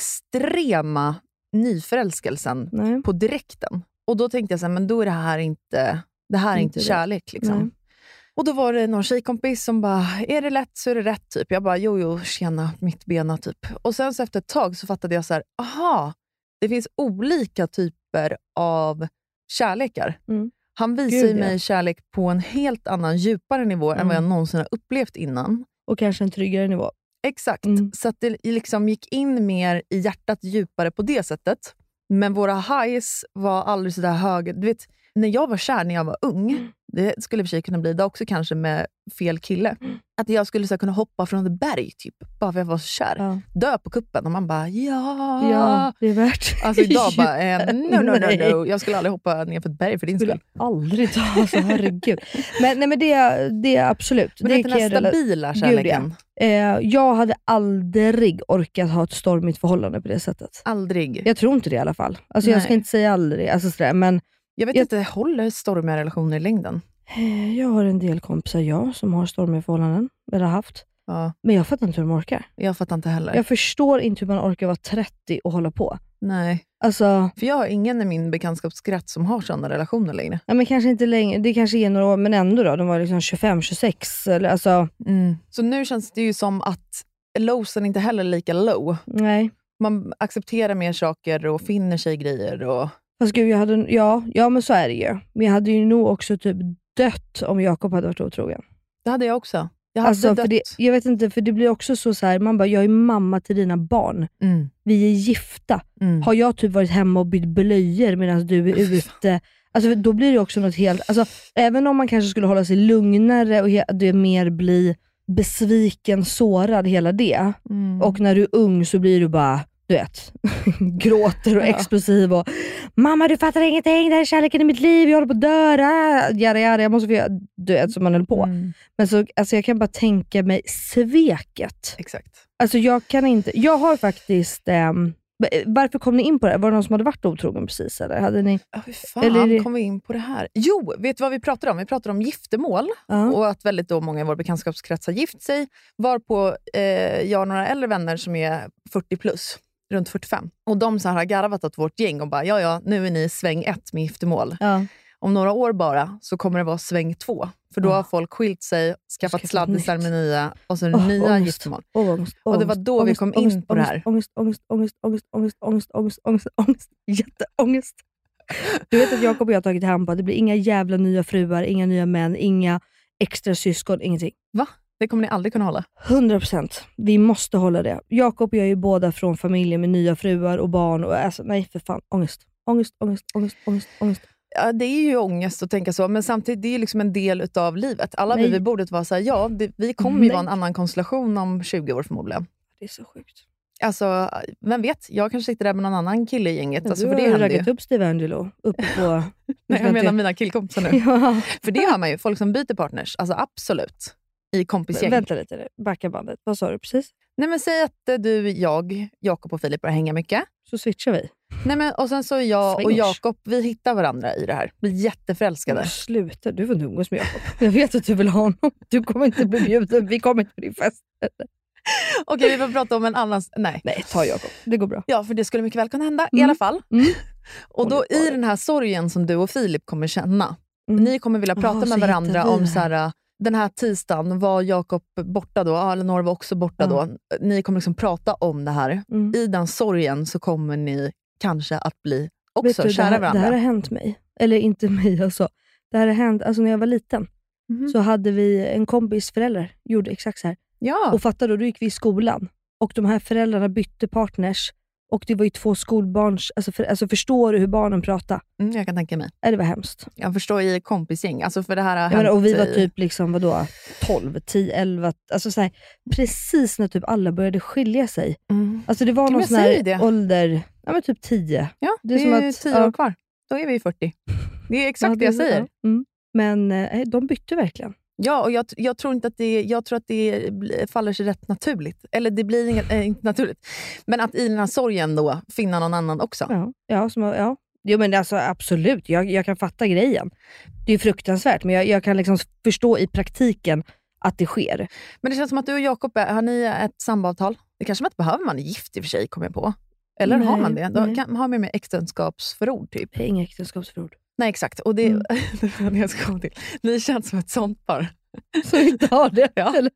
extrema nyförälskelsen
Nej.
på direkten. Och då tänkte jag så här, men då är det här inte, det här är
Inte
inte
rätt.
kärlek.
Nej.
Liksom. Och då var det någon tjejkompis som bara, är det lätt så är det rätt. Typ. Jag bara, jo, jo, tjena, mitt bena. Typ. Och sen så efter ett tag så fattade jag så här, aha, det finns olika typer av kärlekar.
Mm.
Han visar
Gud,
ju
ja. Mm.
mig kärlek på en helt annan, djupare nivå än vad jag någonsin har upplevt innan.
Och kanske en tryggare nivå.
Exakt.
Mm.
Så att det liksom gick in mer i hjärtat djupare på det sättet. Men våra highs var aldrig så där höga. Du vet, när jag var kär när jag var
Mm.
ung, det skulle i och för sig kunna bli det också kanske med fel kille,
Mm.
att jag skulle så här kunna hoppa från ett berg typ, bara för att jag var så kär.
Ja,
Dö på kuppen och man bara ja.
ja det är värt
Alltså idag bara,
[LAUGHS]
eh, no, no, no,
Nej.
no. Jag skulle aldrig hoppa ner för ett berg för din
skulle
skull.
jag aldrig ta, alltså, herregud. Men, nej, men det, det är absolut.
Men
det
det den
kan
här
jag rela-
stabila
Gud, ja.
kärleken.
Eh, jag hade aldrig orkat ha ett stormigt förhållande på det sättet.
Aldrig. Jag,
Jag tror inte det i alla fall. Alltså, jag
Nej.
ska inte säga aldrig, alltså, sådär, men
vet
jag-
inte, håller stormiga relationer i längden?
eh, jag har en del kompisar jag som har stormiga förhållanden, eller haft.
Ja.
Men jag fattar inte hur de orkar.
Jag fattar inte heller.
Jag förstår inte hur man orkar vara 30 och hålla på.
Nej.
Alltså,
För jag har ingen i min bekantskapskrets som har sådana relationer längre.
ja, men kanske inte längre, det kanske är några år, men ändå då. De var liksom 25, 26. Eller, alltså,
Så nu känns det ju som att lowsen inte heller är lika low.
nej.
Man accepterar mer saker och finner sig i grejer. Och...
Fast gud, jag hade, ja, ja, men så är det ju. Men jag hade ju nog också typ dött om Jakob hade varit otrogen.
Det hade jag också. Jag hade
Alltså,
dött.
för det, jag vet inte, för det blir också så, så här, man bara, jag är mamma till dina barn.
Mm.
Vi är gifta.
Mm.
Har jag typ varit hemma och bytt blöjor medan du är ute? Alltså, då blir det också något helt... Alltså, även om man kanske skulle hålla sig lugnare och he- det mer bli besviken, sårad, hela det.
Mm.
Och när du är ung så blir du bara, du vet, [LAUGHS] gråter och
Ja.
explosiv och “Mamma du fattar ingenting, det här är kärleken i mitt liv, jag håller på att dö, ah, jada, jada, jag måste få göra...” Du vet, som man höll på.
Mm.
Men så, alltså, jag kan bara tänka mig sveket.
Exakt.
Alltså jag kan inte, jag har faktiskt, ehm, va- varför kom ni in på det? Var det någon som hade varit otrogen precis eller? Hade ni?
Ja, hur fan
Eller är det-
kom vi in på det här? Jo, vet du vad vi pratade om? Vi pratade om giftermål
Ja.
och att väldigt då många i vår bekantskapskrets har gift sig. Varpå eh, jag och några äldre vänner som är 40 plus, runt 45, och de så här har garvat åt vårt gäng och bara ja, ja, nu är ni i sväng ett med giftermål.
Ja.
Om några år bara så kommer det vara sväng två. För då
Ja.
har folk skilt sig, skaffat
Skaffat
sladdisar
nytt.
med nya och sen
Åh,
nya
ångest.
giftermål.
Åh, vad ångest,
Och det var
ångest,
då vi
ångest,
kom
ångest,
in på det här.
Ångest, ångest, ångest, ångest, ångest, ångest, ångest, ångest, ångest, jätteångest. Du vet att Jakob och jag har tagit hand på att det blir inga jävla nya fruar, inga nya män, inga extra syskon, ingenting.
Det kommer ni aldrig kunna hålla.
100%. Vi måste hålla det. Jakob och jag är ju båda från familjer med nya fruar och barn. Och, alltså, nej, för fan. Ångest. Ångest, ångest, ångest, ångest, ångest.
Ja, det är ju ångest att tänka så, men samtidigt det är ju liksom en del utav livet. Alla
Nej.
vi vid bordet var såhär, ja, det, vi kommer ju
Nej.
vara en annan konstellation om 20 år förmodligen.
Det är så sjukt.
Alltså, vem vet? Jag kanske sitter där med någon annan kille i gänget. Alltså, för
du har
det
ju
händer ju.
raggat upp Steve Angelo uppe på...
[LAUGHS] Nej, jag menar mina killkompisar nu.
ja.
för det har man ju, folk som byter partners. Alltså absolut. I kompisgäng.
Vänta lite nu. Backa bandet. Vad sa du precis?
Nej, men säg att eh, du, jag, Jakob och Filip börjar hänga mycket.
Så switchar vi.
Nej, men, och sen så är jag och
Swingers.
Jakob, vi hittar varandra i det här. Blir jätteförälskade.
Men Sluta, du får inte umgås med Jakob. Jag vet att du vill ha honom. Du kommer inte bli bjuden. Vi kommer inte på din fest.
Okej, vi får prata om en annan... Nej.
Nej, ta Jakob. Det går bra.
Ja, för det skulle mycket väl kunna hända i
Mm.
alla fall.
Mm.
Och då
Underbart.
i den här sorgen som du och Filip kommer känna,
Mm.
ni kommer vilja prata
Ah, så
med varandra
hittar vi
om
det
så här, äh, den här tisdagen, var Jakob borta då? Ja, Eleonor var också borta
Ja.
då. Ni kommer liksom prata om det här.
Mm.
I den sorgen så kommer ni kanske att bli också
Vet du,
kära
det här,
varandra.
Det här har hänt mig. Eller inte mig alltså. Det här har hänt, alltså när jag var liten
Mhm.
så hade vi en kompis föräldrar, gjorde exakt så här.
ja.
Och fatta då, då gick vi i skolan och de här föräldrarna bytte partners och det var ju två skolbarns, alltså, för, alltså förstår du hur barnen pratade?
mm, jag kan tänka mig.
Äh, Det var hemskt.
Jag förstår i kompisgäng. Alltså för det här har
Jag menar,
hänt
och vi var
i-
typ liksom, vadå, 12, 10, 11, alltså så här, precis när typ alla började skilja sig.
Mm.
Alltså det var
men
någon
jag
sån
säger det.
här ålder, ja men typ 10.
Ja,
det
det
är
är,
som
ju
att-
tio
ja.
år kvar. Då är vi 40. Det är exakt
Ja,
det jag säger.
ja. Mm. Men eh, nej, de bytte verkligen.
Ja, och jag, tr- jag tror inte att det, jag tror att det bli- faller sig rätt naturligt. Eller det blir inget, eh, inte naturligt. Men att i den här sorgen då finna någon annan också.
Ja, ja, som, ja. Jo men alltså absolut, jag, jag kan fatta grejen. Det är ju fruktansvärt, men jag, jag kan liksom förstå i praktiken att det sker.
Men det känns som att du och Jakob, är- har ni ett samboavtal? Det kanske man inte behöver, man är gift i och för sig, kommer jag på. Eller har
Nej,
man det? Då
nej.
kan, har man med äktenskapsförord typ.
Det är inga äktenskapsförord.
Nej, exakt. Och det,
Mm.
[LAUGHS] det var det jag skulle komma till. Ni känns som ett sånt par.
[LAUGHS] Så vi inte har det.
Ja.
Eller?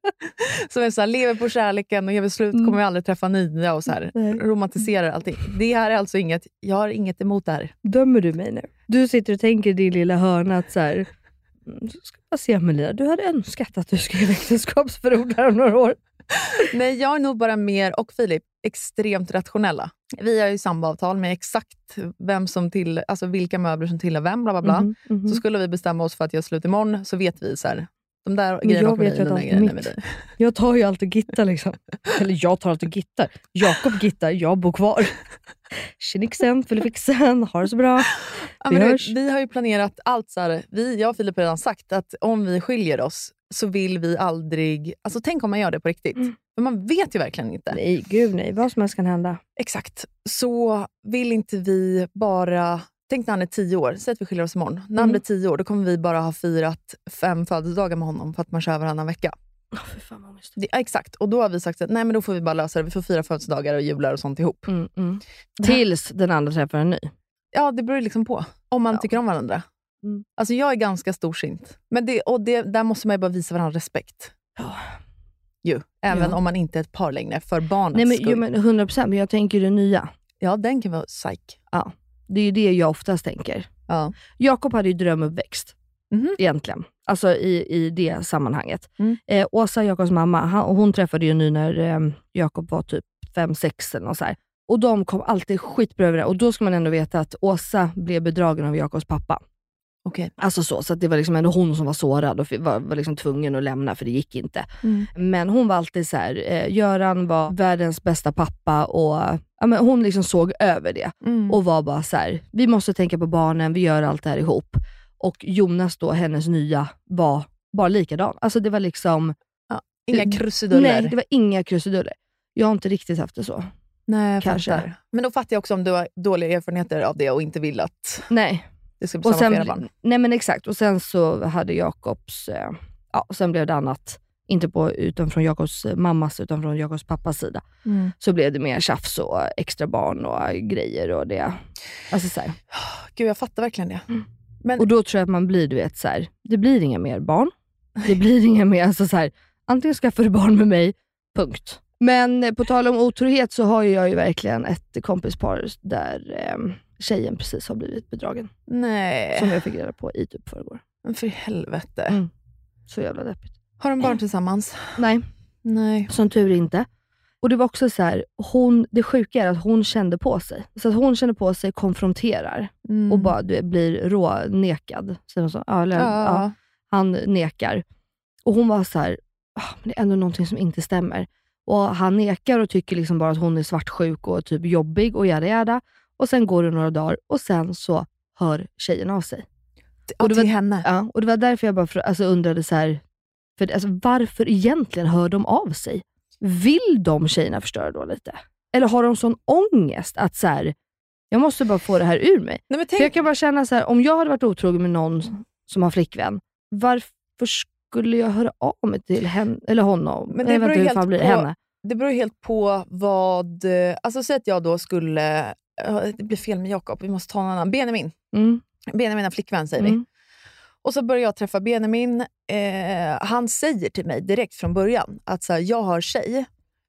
Som är så här, lever på kärleken och gör slut
Mm.
kommer vi aldrig träffa nya och så här,
Nej.
romantiserar allting. Det här är alltså inget, jag har inget emot det här.
Dömer du mig nu? Du sitter och tänker i din lilla hörna att så här, "Mm, så ska jag se Amelia, du hade önskat att du skrev äktenskapsförord här om några år.
Nej, jag är nog bara mer och Filip extremt rationella. Vi har ju samboavtal med exakt vem som till, alltså vilka möbler som tillhör vem. Bla bla bla.
Mhm, mhm.
Så skulle vi bestämma oss för att göra slut imorgon så vet vi så här, de där
Men
grejerna
jag
åker med
vet
dig,
ju
de
att
där
allt är
grejerna med
mitt.
dig.
Jag tar ju alltid Gitta liksom. [LAUGHS] Eller jag tar alltid Gitta. Jakob Gitta, jag bor kvar. [LAUGHS] Tjenixen, Filipixen, ha det så [LAUGHS] bra.
Ja, men
Vi
du vet,
hörs.
vi har ju planerat allt så här, vi, jag och Filip har redan sagt att om vi skiljer oss så vill vi aldrig, alltså tänk om man gör det på riktigt. För man vet ju verkligen inte.
Mm. Nej, gud nej. Vad som helst kan hända.
Exakt. Så vill inte vi bara... Tänk när han är tio år. Säg att vi skiljer oss imorgon. När han
Mm.
blir tio år då kommer vi bara ha firat fem födelsedagar med honom för att man kör varannan vecka.
Fy fan vad ångest.
Det, ja, exakt, och då har vi sagt att nej men då får vi bara lösa det. Vi får fira födelsedagar och jular och sånt ihop.
Mm, mm. Tills den andra träffar en ny.
Ja, det beror ju liksom på om man tycker om varandra.
Mm.
Alltså jag är ganska storsint. Men det, och det, där måste man ju bara visa varandra respekt.
Ja.
Ju. Även
Ja.
om man inte är ett par längre, för barnets
Nej men,
skull.
jo, men 100% men jag tänker det nya.
Ja, den kan vara psyk.
Det är ju det jag oftast tänker.
Ja.
Jakob hade ju drömuppväxt.
Mhm.
Egentligen. Alltså i, i det sammanhanget.
Mm.
Eh, Åsa, Jakobs mamma, han, och hon träffade ju ny när eh, Jakob var typ 5-6 eller något så här. Och de kom alltid skitbra överens. Och då ska man ändå veta att Åsa blev bedragen av Jakobs pappa.
Okej.
Alltså så, så att det var liksom ändå hon som var sårad och fi- var, var liksom tvungen att lämna för det gick inte. Men hon var alltid så här, eh, Göran var världens bästa pappa och ja, men hon liksom såg över det
Mm.
och var bara så här, vi måste tänka på barnen, vi gör allt det här ihop. Och Jonas då, hennes nya, var bara likadan. Alltså det var liksom,
Inga krusiduller.
nej det var inga krusiduller. Jag har inte riktigt haft det så.
Nej, jag
Kanske.
fattar. Men då fattar jag också om du har dåliga erfarenheter av det och inte vill att
Nej.
det ska bli
Och
samma för
sen,
era barn.
nej men exakt, och sen så hade Jakobs, eh, ja sen blev det annat. Inte på, utan från Jakobs eh, mammas, utan från Jakobs pappas sida.
Mm.
Så blev det mer tjafs och extra barn och eh, grejer och det. Alltså så här. Mm.
Gud, jag fattar verkligen det. Men,
Och då tror jag att man blir, du vet, så här, det blir inga mer barn. Det blir inga mer, alltså så här, antingen skaffar du barn med mig, punkt. Men eh, på tal om otrohet så har ju jag ju verkligen ett kompispar där eh, tjejen precis har blivit bedragen. Som
nej,
jag fick reda på i typ förrgår.
men för helvete.
Mm. Så jävla deppigt.
Har de barn tillsammans?
Nej,
Nej.
som tur inte. Och det var också så här, hon, det sjuka är att hon kände på sig. Så att hon kände på sig, konfronterar
Mm.
och bara du, vet, blir rånekad. Säger man så? Ja, eller,
Ja,
ja.
ja.
Han nekar. Och hon var så här, "Ah, men det är ändå någonting som inte stämmer. Och Han nekar och tycker liksom bara att hon är svartsjuk och typ jobbig och jada jada. Och sen går det några dagar och sen så hör tjejen av sig.
Och
och det
till
var-
henne.
Ja, och Det var därför jag bara för, alltså, undrade så här, för, alltså, varför egentligen hör de av sig? Vill de tjejerna förstöra då lite? Eller har de sån ångest att så här, jag måste bara få det här ur mig?
Nej, men
För jag
tänk,
kan bara känna så här, om jag hade varit otrogen med någon som har flickvän, varför skulle jag höra av mig till henne, eller honom?
Men det
Nej,
beror
vänta, hur
helt
fan blir det?
på-
Henne?
det beror ju helt på vad... eh, Alltså Säg att jag då skulle... ja, Det blir fel med Jakob, vi måste ta någon annan. Benjamin.
Mm,
Benjamin har flickvän säger vi.
mm,
Och så börjar jag träffa Benjamin. Eh, han säger till mig direkt från början att så här, jag har tjej,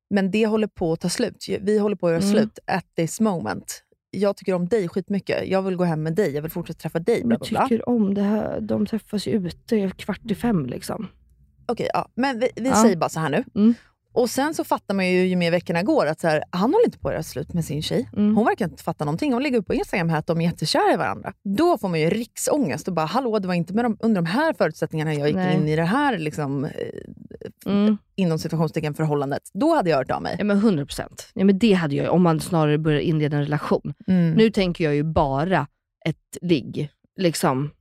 men det håller på att ta slut. Vi håller på att göra
Mm.
slut at this moment. Jag tycker om dig skitmycket. Jag vill gå hem med dig. Jag vill fortsätta träffa dig. Bla,
jag
bla, bla.
tycker om det här. De träffas ju ute kvart i fem liksom.
Okej, ja. Men vi, vi
Ja.
säger bara så här nu.
Mm.
Och sen så fattar man ju ju mer veckorna går att så här, han håller inte på att göra slut med sin tjej.
Mm.
Hon verkar inte fatta någonting. Hon lägger upp på Instagram här att de är jättekära i varandra. Då får man ju riksångest och bara, hallå det var inte med de, under de här förutsättningarna jag gick
Nej.
in i det här liksom, eh,
Mm.
inom situationstecken förhållandet. Då hade jag hört av mig.
Ja, men 100 procent. Ja, men det hade jag ju, om man snarare börjar inleda en relation. Nu tänker jag ju bara ett ligg. Liksom.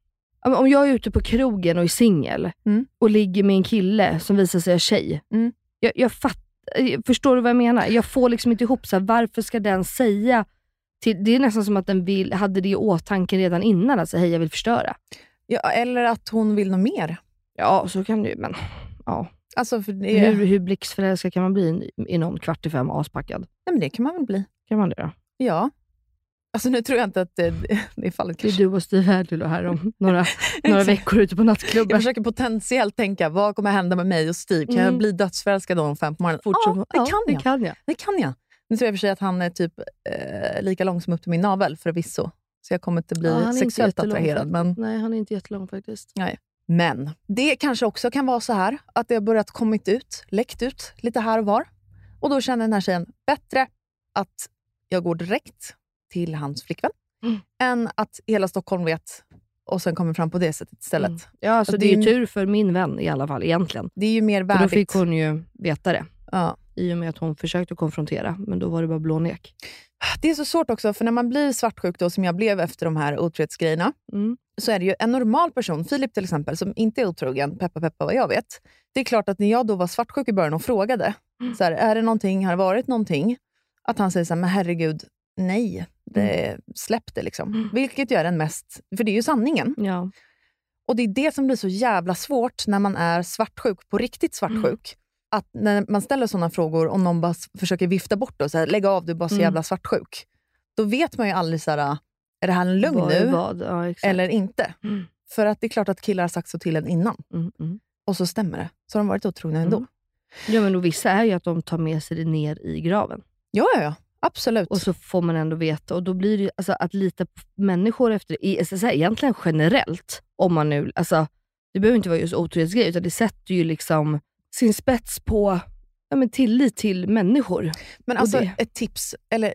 Ja, men Om jag är ute på krogen och är singel
Mm.
och ligger med en kille som visar sig vara tjej.
Mm.
Jag, jag fatt, eh, förstår du vad jag menar? Jag får liksom inte ihop, så här, varför ska den säga till, det är nästan som att den vill, hade det i åtanke redan innan, alltså hej jag vill förstöra.
Ja, eller att hon vill något mer.
Ja, så kan det ju, men ja.
Alltså, för det,
hur, hur blixtförälskad kan man bli i någon kvart i fem aspackad?
Nej, men det kan man väl bli.
Kan man det då?
Ja. Alltså, nu tror jag inte att det, [LAUGHS] det är fallet.
Det är
Kanske.
du och Steve Härdlö här [LAUGHS] om några, några veckor ute på
Jag
nattklubben.
försöker potentiellt tänka, vad kommer hända med mig och Steve? Kan jag
Mm.
bli dödsförälskad om fem på morgonen?
Fort
ja,
som-
det kan
det
jag.
kan jag.
Det kan jag. Nu tror jag i och för sig att han är typ eh, lika lång som upp till min navel förvisso. Så jag kommer inte bli
Ja, han är inte
sexuellt
jättelång
attraherad.
faktiskt.
Men,
Nej, han är inte jättelång faktiskt.
men det kanske också kan vara så här att det har börjat kommit ut, läckt ut lite här och var. Och då känner den här tjejen bättre att jag går direkt till hans flickvän
Mm.
än att hela Stockholm vet och sen kommer fram på det sättet istället.
Mm. Ja, alltså
Och
det är ju
det är
tur för min vän i alla fall egentligen.
Det är ju mer
För
värdigt.
då fick hon ju veta det.
ja.
I och med att hon försökte konfrontera, men då var det bara blånek.
Det är så svårt också, för när man blir svartsjuk då, som jag blev efter de här otrohetsgrejerna,
Mm.
så är det ju en normal person, Filip till exempel, som inte är otrogen, peppa peppa vad jag vet. Det är klart att när jag då var svartsjuk i början och frågade, så här, är det någonting, har det varit någonting? Att han säger så här, men herregud, nej, det, släpp det liksom. Vilket ju är den mest, för det är ju sanningen.
Ja.
Och Det är det som blir så jävla svårt när man är svartsjuk, på riktigt svartsjuk.
Mm.
Att när man ställer sådana frågor och någon bara s- försöker vifta bort det och säga lägg av, du är bara så
Mm.
jävla svartsjuk. Då vet man ju aldrig, så här, är det här en lögn
Vad är
nu
vad? Ja, exakt.
eller inte?
Mm.
För att det är klart att killar har sagt så till en innan
Mm, mm.
och så stämmer det. Så har de varit otrogna ändå.
Mm. Ja, men och vissa är ju att de tar med sig det ner i graven.
Ja, ja, ja. Absolut.
Och så får man ändå veta. Och då blir det ju, alltså, att lita på människor efter i SSR, egentligen generellt, om man nu, alltså, det behöver inte vara just otrohetsgrejer, utan det sätter ju liksom sin spets på ja, men tillit till människor.
Men
Och
alltså
det-
ett tips, eller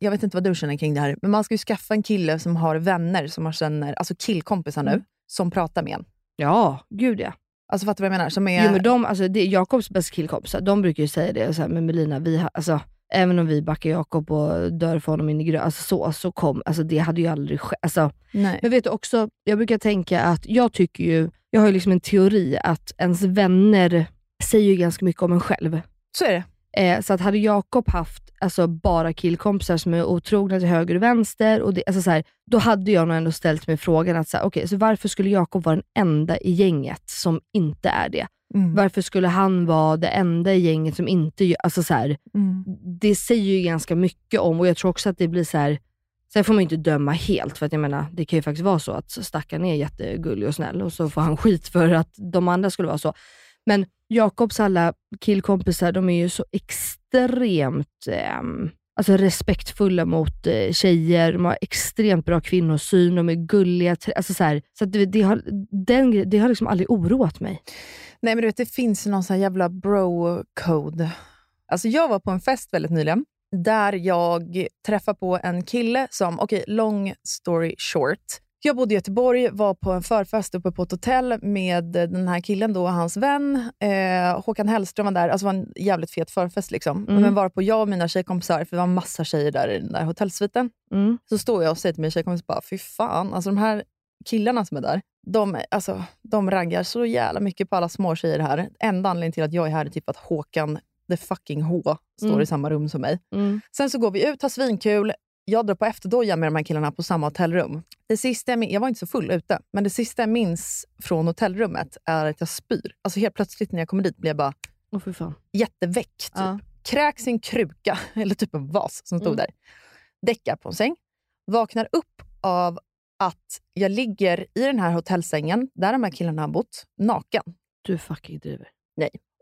jag vet inte vad du känner kring det här, men man ska ju skaffa en kille som har vänner, som man känner, alltså killkompisar nu,
Mm.
som pratar med en.
Ja, gud ja.
Alltså fattar du vad jag menar? Som är,
Jo, men de, alltså, det är Jakobs bästa killkompisar, de brukar ju säga det, så här, men Melina, vi har, alltså, även om vi backar Jakob och dör för honom in i grön, alltså, så, så kom, alltså, det hade ju aldrig skett. Alltså,
Nej.
Men vet du också, jag brukar tänka att jag tycker ju, jag har ju liksom en teori att ens vänner säger ju ganska mycket om en själv.
Så är det.
Eh, så att hade Jakob haft alltså, bara killkompisar som är otrogna till höger och vänster, och det, alltså, så här, då hade jag nog ändå ställt mig frågan att så här, okej, så varför skulle Jakob vara den enda i gänget som inte är det?
Mm.
Varför skulle han vara det enda i gänget som inte gör... Alltså, så här,
Mm.
det säger ju ganska mycket om och jag tror också att det blir så här. Sen får man ju inte döma helt för att jag menar, det kan ju faktiskt vara så att stackaren är jättegullig och snäll och så får han skit för att de andra skulle vara så. Men Jakobs alla killkompisar, de är ju så extremt ehm, alltså respektfulla mot eh, tjejer, de har extremt bra kvinnosyn, de är gulliga. tr- Alltså så här, så att det, det, har, den, gre- det har liksom aldrig oroat mig.
Nej, men du vet, det finns ju någon sån här jävla bro-code. Alltså, jag var på en fest väldigt nyligen där jag träffade på en kille som, okej, long story short. Jag bodde i Göteborg, var på en förfest uppe på ett hotell med den här killen då och hans vän. Eh, Håkan Hellström var där. Alltså det var en jävligt fet förfest. liksom.
Mm.
Men varpå jag och mina tjejkompisar, för det var en massa tjejer där i den där hotellsviten,
Mm.
så står jag och säger till min tjejkompis bara, fy fan, alltså de här killarna som är där, de, är- alltså, de raggar så jävla mycket på alla små tjejer här. Enda anledningen till att jag är här är typ att Håkan, the fucking H, står
Mm.
i samma rum som mig.
Mm.
Sen så går vi ut, har svinkul. Jag drar på efterdoja med de här killarna på samma hotellrum. Det sista jag, min- jag var inte så full ute, men det sista jag minns från hotellrummet är att jag spyr. Alltså helt plötsligt när jag kommer dit blir jag bara
Åh fy fan.
jätteväck. Typ.
Ja.
Kräks i en kruka, [LAUGHS] eller typ en vas som stod
Mm.
där. Däckar på en säng. Vaknar upp av att jag ligger i den här hotellsängen, där de här killarna har bott, naken.
Du fucking driver.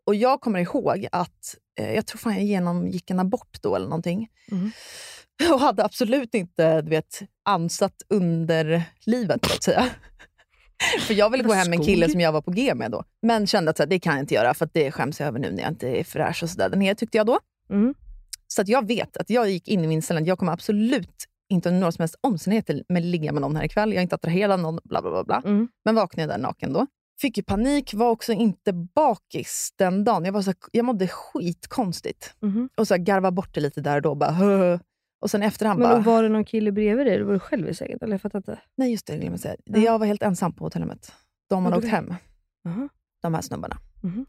Och jag kommer ihåg att, eh, jag tror fan jag genomgick en abort då eller någonting.
Mm.
[LAUGHS] Och hade absolut inte, du vet, ansatt under livet så att säga. [LAUGHS] För jag ville gå
Vad
hem med en
skog.
kille som jag var på G med då. Men kände att så här, det kan jag inte göra för att det skäms jag över nu när jag inte är fräsch och sådär. Den här tyckte jag då.
Mm.
Så att jag vet att jag gick in i min inställning att jag kommer absolut inte under några som helst omständigheter med ligga med någon här ikväll. Jag är inte attraherad av någon, bla bla bla. bla.
Mm.
Men vaknade jag där naken då. Fick ju panik, var också inte bakis den dagen. Jag, var så här, jag mådde skitkonstigt.
Mhm.
Och så här, garva bort det lite där och då. Bara, [LAUGHS] "Hö, hö." och sen efterhand
Men
bara...
då var det någon kille bredvid dig eller var du själv i sängen? Eller jag fattar inte.
Nej, just det. Jag, glömde säga.
Ja.
jag var helt ensam på hotellrummet. De hade
Gjorde
åkt
du?
hem,
Aha.
de här snubbarna.
Mhm.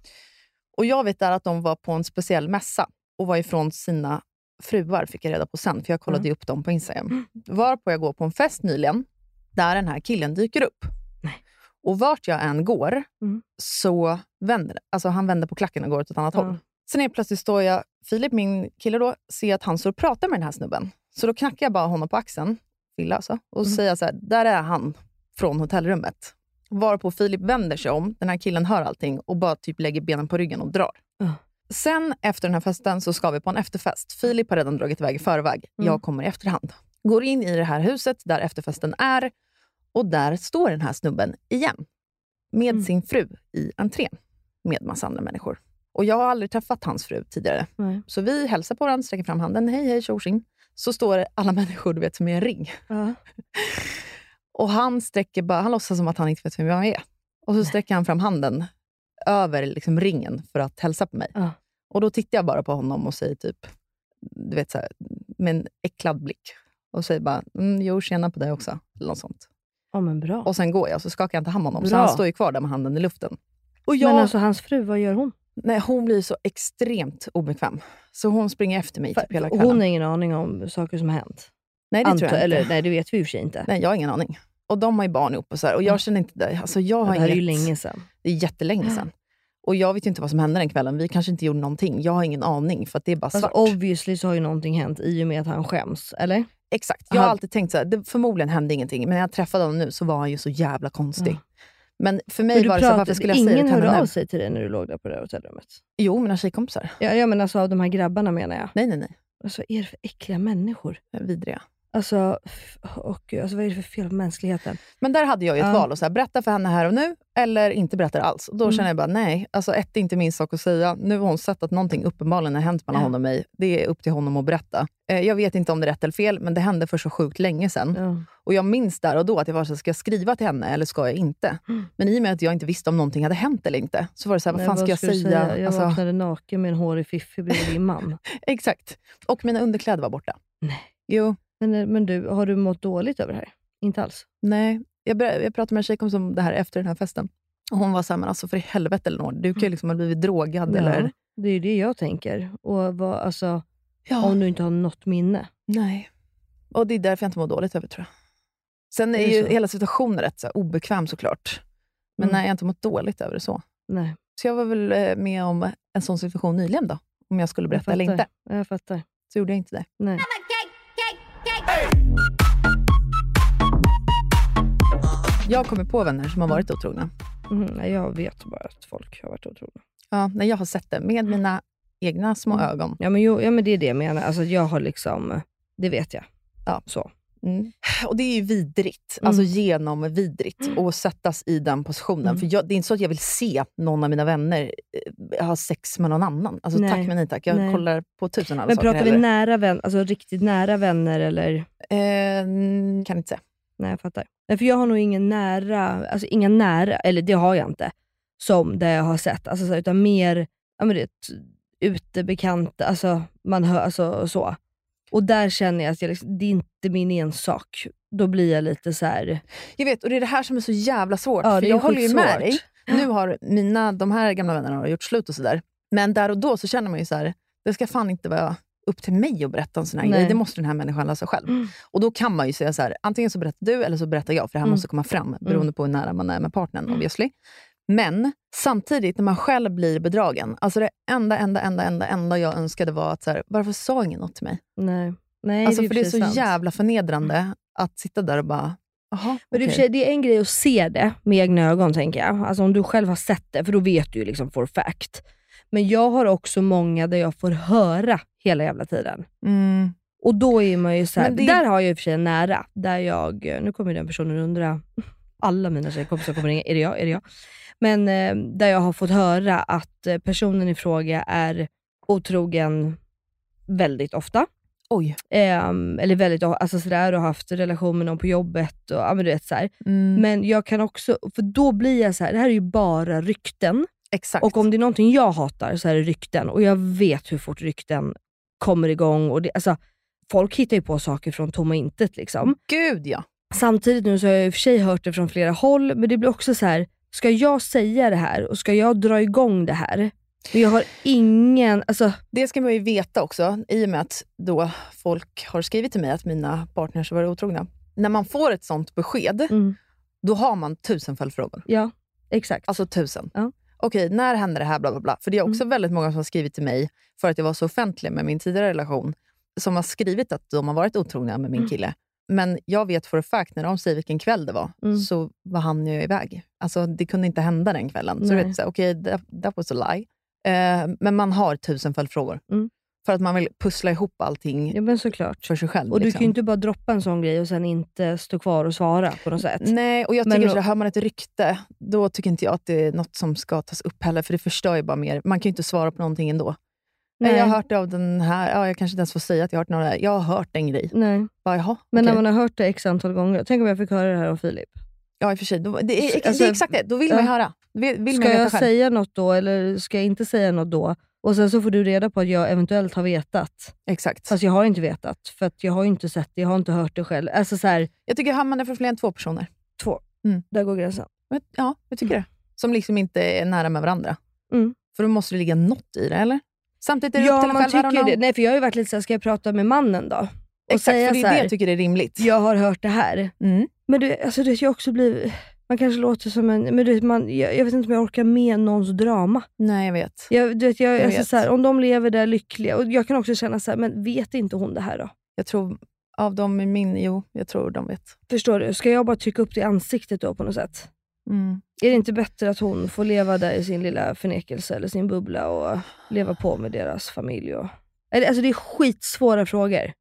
Och jag vet där att de var på en speciell mässa och var ifrån sina fruar, fick jag reda på sen, för jag kollade ju upp dem på
Mm.
Instagram. Varpå jag går på en fest nyligen, där den här killen dyker upp.
Nej.
Och vart jag än går
Mm.
så vänder alltså han vänder på klacken och går åt ett annat
Ja.
håll. Sen helt plötsligt står jag, Filip, min kille, då, ser att han står och pratar med den här snubben. Så då knackar jag bara honom på axeln, Fille alltså, och
Mm.
säger så här, där är han från hotellrummet. Varpå Filip vänder sig om, den här killen hör allting och bara typ lägger benen på ryggen och drar.
Ja.
Sen efter den här festen så ska vi på en efterfest. Filip har redan dragit iväg i förväg.
Mm.
Jag kommer i efterhand. Går in i det här huset där efterfesten är och där står den här snubben igen. Med
Mm.
sin fru i entrén. Med massa andra människor. Och jag har aldrig träffat hans fru tidigare.
Nej.
Så vi hälsar på varandra, sträcker fram handen. Hej, hej, tjosing. Så står alla [LAUGHS] människor du vet, som i en ring. Och han sträcker bara, han låtsas som att han inte vet vem jag är. Och så sträcker han fram handen över liksom ringen för att hälsa på mig.
Ja.
Och då tittar jag bara på honom och säger typ, du vet så här, med en äcklad blick. Och säger bara, mm, jo tjena på dig också. Eller något sånt.
Ja men bra.
Och sen går jag, så skakar jag inte hand om honom. Så
Bra.
han står ju kvar där med handen i luften. Och jag,
Men alltså hans fru, vad gör hon?
nej, hon blir så extremt obekväm. Så hon springer efter mig typ hela
Och
kvällen.
hon har ingen aning om saker som har hänt.
nej, det tror
Anta-
jag inte.
Eller nej, det vet vi i och för sig inte.
Nej, jag har ingen aning. Och de har ju barn ihop och så här. Och jag känner inte det. Alltså jag har
det här är ju
inget-
länge sedan.
Det är jättelänge
Ja.
sedan. Och jag vet ju inte vad som hände den kvällen. Vi kanske inte gjorde någonting. Jag har ingen aning för att det är bara
Fast
Alltså,
svart.
obviously så har ju någonting hänt i och med att han skäms, eller?
Exakt. Jag har
Aha.
alltid tänkt så här, det, förmodligen hände ingenting. Men när jag träffade honom nu så var han ju så jävla konstig. Men för mig
Men du
var det så här, varför
pratade-
skulle jag säga det
Ingen
till
hörde
henne
av
nu?
sig till dig när du låg där på det här hotellrummet?
Jo, mina tjejkompisar. [LAUGHS]
Ja, ja men alltså av de här grabbarna menar jag.
Nej, nej, nej.
Alltså vad är det för äckliga människor?
Vidriga.
Alltså, f- åh gud, alltså vad är det för fel på mänskligheten?
Men där hade jag ju ett
Ja.
val. Och så här, berätta för henne här och nu eller inte berätta alls. Och då
Mm.
känner jag bara, nej. Alltså, ett, det är inte min sak att säga. Nu har hon sett att någonting uppenbarligen har hänt mellan
Ja.
honom och mig. Det är upp till honom att berätta. Eh, jag vet inte om det är rätt eller fel, men det hände för så sjukt länge sedan.
Ja.
Och jag minns där och då att jag var så här, ska jag skriva till henne eller ska jag inte? Men i och med att jag inte visste om någonting hade hänt eller inte, så var det så här, vad
Mm.
fan
Nej,
ska jag
skulle du
säga?
Jag
Alltså,
vaknade naken med en hårig fiffi bredvid
[LAUGHS]
din man.
Exakt. Och mina underkläder var borta.
Nej.
Jo,
Men, men du, har du mått dåligt över det här? Inte alls?
nej. Jag, började, jag pratade med en tjejkompis om det här efter den här festen. Och hon var så här, men alltså för i helvete Elinor, du kan ju liksom ha blivit drogad eller...
Mm. Ja, det är ju det jag tänker. Och vad, alltså,
Ja.
Om du inte har något minne.
Nej. Och det är därför jag inte mår dåligt över det, tror jag. Sen är,
Är det
ju
så?
hela situationen rätt så här, obekväm såklart. Men
Mm.
nej, jag har inte mått dåligt över det så.
Nej,
Så jag var väl eh, med om en sån situation nyligen då. Om jag skulle
jag
berätta eller
fattar.
inte.
Jag fattar.
Så gjorde jag inte det.
Nej.
Jag kommer på vänner som har varit otrogna.
Mm, nej, jag vet bara att folk har varit otrogna.
Ja, när jag har sett det med mina egna små
Mm.
ögon.
Ja men, jo, ja, men det är det jag menar. Alltså, jag har liksom, det vet jag.
Ja.
Så.
Mm. Och Det är ju vidrigt.
Mm.
Alltså genom vidrigt. Och sättas i den positionen.
Mm.
För jag, Det är inte så att jag vill se någon av mina vänner eh, ha sex med någon annan. Alltså,
Nej.
Tack men nej tack. Jag
Nej.
kollar på tusen andra
Men
saker.
pratar vi
hellre.
nära vänner, alltså riktigt nära vänner eller?
Eh, n- kan inte säga.
Nej, jag fattar. Nej, för jag har nog ingen nära, alltså inga nära, eller det har jag inte, som det jag har sett. Alltså, så här, utan mer ja, men det, utebekanta, alltså, man hör, alltså så. Och där känner jag att jag liksom, det är inte min ensak. Då blir jag lite så här,
Jag vet, och det är det här som är så jävla svårt.
Ja,
för
det är
jag håller ju med
skitsvårt.
dig. Nu har mina, de här gamla vännerna har gjort slut och sådär. Men där och då så känner man ju så här, det ska fan inte vara upp till mig att berätta en sån här
Nej. Mm.
grej. Det måste den här människan lösa själv. Och då kan man ju säga så här, antingen så berättar du eller så berättar jag, för det här
Mm.
måste komma fram beroende
Mm.
på hur nära man är med partnern obviously. Men samtidigt, när man själv blir bedragen, alltså det enda, enda, enda, enda, enda jag önskade var att så här, varför sa ingen något till mig?
nej. nej
alltså,
ju
för det är så
precis sant.
jävla förnedrande att sitta där och bara, jaha,
Men det, är i och för
okej."
sig, det är en grej att se det med egna ögon, tänker jag. Alltså om du själv har sett det, för då vet du ju liksom for fact. Men jag har också många där jag får höra hela jävla tiden.
Mm.
Och då är man ju så här,
Men det-
där har jag i och för sig en nära, där jag, nu kommer ju den personen undra, [LAUGHS] alla mina tjejkompisar kommer ringa, är det jag? Är det jag? Men eh, där jag har fått höra att eh, personen i fråga är otrogen väldigt ofta.
Oj.
Ehm, eller väldigt o- alltså sådär, och haft relation med någon på jobbet. Och, ja, men du vet, så här.
Mm.
Men jag kan också, för då blir jag så här, det här är ju bara rykten.
Exakt.
Och om det är någonting jag hatar så är det rykten. Och jag vet hur fort rykten kommer igång. Och det, alltså, folk hittar ju på saker från tomma intet. Liksom.
Gud ja.
Samtidigt nu så har jag i och för sig hört det från flera håll, men det blir också så här. ska jag säga det här och ska jag dra igång det här? Men jag har ingen, alltså
Det ska man ju veta också, i och med att då folk har skrivit till mig att mina partners har varit otrogna. När man får ett sånt besked,
Mm.
då har man tusen följdfrågor.
ja, exakt.
Alltså tusen.
Ja.
Okej, när hände det här? Bla, bla, bla. För det är också
Mm.
väldigt många som har skrivit till mig för att jag var så offentlig med min tidigare relation, som har skrivit att de har varit otrogna med
Mm.
min kille. Men jag vet för a fact, när de säger vilken kväll det var,
Mm.
så var han ju iväg. Alltså, det kunde inte hända den kvällen. Så du
Nej.
vet, så här, okej, that, that was a lie. Eh, men man har tusen följdfrågor.
Mm.
För att man vill pussla ihop allting
ja men såklart.
för sig själv.
Och du
liksom.
kan ju inte bara droppa en sån grej och sen inte stå kvar och svara på något sätt.
Nej, och jag
Men
tycker
då-
att hör man ett rykte, då tycker inte jag att det är något som ska tas upp heller, för det förstör ju bara mer. Man kan ju inte svara på någonting ändå. Nej. Jag har hört det av den här, ja, jag kanske inte ens får säga att jag har hört någon, jag har hört en grej.
Nej.
Bara, jaha,
Men när
okej.
man har hört det x antal gånger, tänk om jag fick höra det här av Filip.
Ja, i och för sig. Då, det, är,
Alltså,
det är exakt det, då vill man
ja.
ju höra. Då Vill, vill man
Ska
veta
jag
själv.
säga något då eller ska jag inte säga något då? Och sen så får du reda på att jag eventuellt har vetat.
Exakt.
Fast jag har inte vetat, för att jag har ju inte sett det, jag har inte hört det själv. Alltså så här,
Jag tycker hör man det från fler än två personer.
två.
Mm.
Där går gränsen.
Men, ja, jag tycker det. Som liksom inte är nära med varandra.
Mm.
För då måste det ligga något i det, eller? Samtidigt är det upp
Ja,
till en
man
själv. I don't
tycker ju
know.
det. Nej, för jag har ju varit lite såhär, ska jag prata med mannen då? Och
Exakt,
säga
för det
så
är det
här,
jag tycker är rimligt.
jag har hört det här.
Mm.
Men du, alltså du vet, jag också blir... Man kanske låter som en... Men du vet, man, jag, jag vet inte om jag orkar med någons drama.
Nej, jag vet.
Jag, du vet, jag,
Jag
alltså,
vet.
Så här, om de lever där lyckliga, och jag kan också känna så här, men vet inte hon det här då?
Jag tror av dem i min... Jo, jag tror de vet.
Förstår du? Ska jag bara trycka upp det i ansiktet då på något sätt?
Mm.
Är det inte bättre att hon får leva där i sin lilla förnekelse eller sin bubbla och leva på med deras familj? Och... Eller, Alltså det är skitsvåra frågor.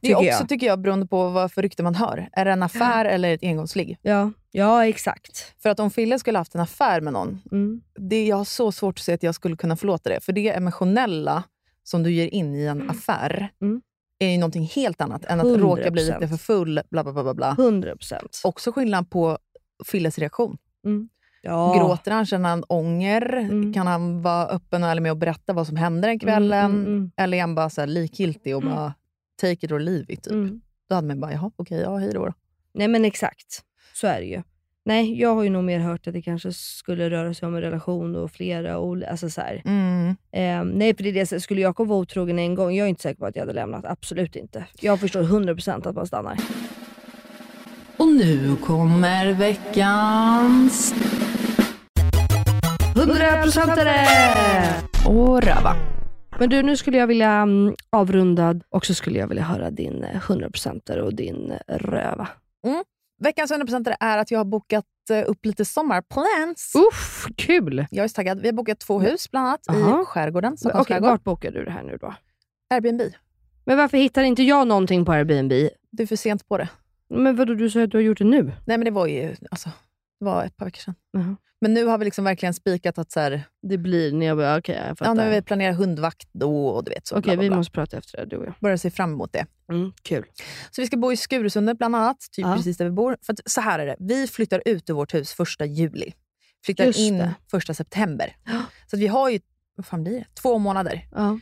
Det är också,
Tycker jag.
tycker jag, beroende på vad för rykte man hör. Är det en affär eller ett engångsligg?
Ja, ja exakt.
För att om Fille skulle haft en affär med någon,
Mm.
det, jag har så svårt att se att jag skulle kunna förlåta det. För det emotionella som du ger in i en affär
Mm.
är ju någonting helt annat än att råka bli
100%.
lite för full, bla bla bla. bla, bla.
100%.
Också skillnad på Filles reaktion.
Ja.
Gråter han? Känner han ånger?
Mm.
Kan han vara öppen och ärlig med att berätta vad som hände den kvällen?
Mm, mm, mm.
Eller är han bara så här likgiltig och bara take it or leave it? Typ.
Mm.
Då hade man bara, jaha, okej, ja, hej då. då.
Nej men exakt, så är det ju. Nej, jag har ju nog mer hört att det kanske skulle röra sig om en relation och flera och alltså så här. Ehm, nej, för det är det. skulle Jakob vara otrogen en gång, jag är inte säker på att jag hade lämnat. Absolut inte. Jag förstår 100% att man stannar.
Och nu kommer veckans...
100%are!
Och röva.
Men du, nu skulle jag vilja mm, avrunda och så skulle jag vilja höra din eh, 100%are och din eh, röva.
Veckans 100% är att jag har bokat eh, upp lite sommarplans.
Uff, kul!
Jag är så taggad. Vi har bokat två hus bland annat
Aha.
i skärgården,
Men
Stockholms
Okej,
skärgård.
vart bokar du det här nu då?
Airbnb.
Men varför hittar inte jag någonting på Airbnb?
Du är för sent på det.
Men vadå, du sa att du har gjort det nu?
Nej men det var ju alltså, det var ett par veckor sedan.
Jaha.
Men nu har vi liksom verkligen spikat att så här,
Det blir när jag börjar, okej jag
ja, nu har vi planerat hundvakt då och du vet så.
eh, Okej,
bla, bla,
vi
bla.
måste prata efter det, du och jag.
Börjar se fram emot det.
kul.
Så vi ska bo i Skurusundet bland annat, typ
Ja.
precis där vi bor. För att, så här är det, vi flyttar ut ur vårt hus första juli. Flyttar
Just
in
det.
första september. Så att vi har ju, vad fan blir det? Två månader
Ja.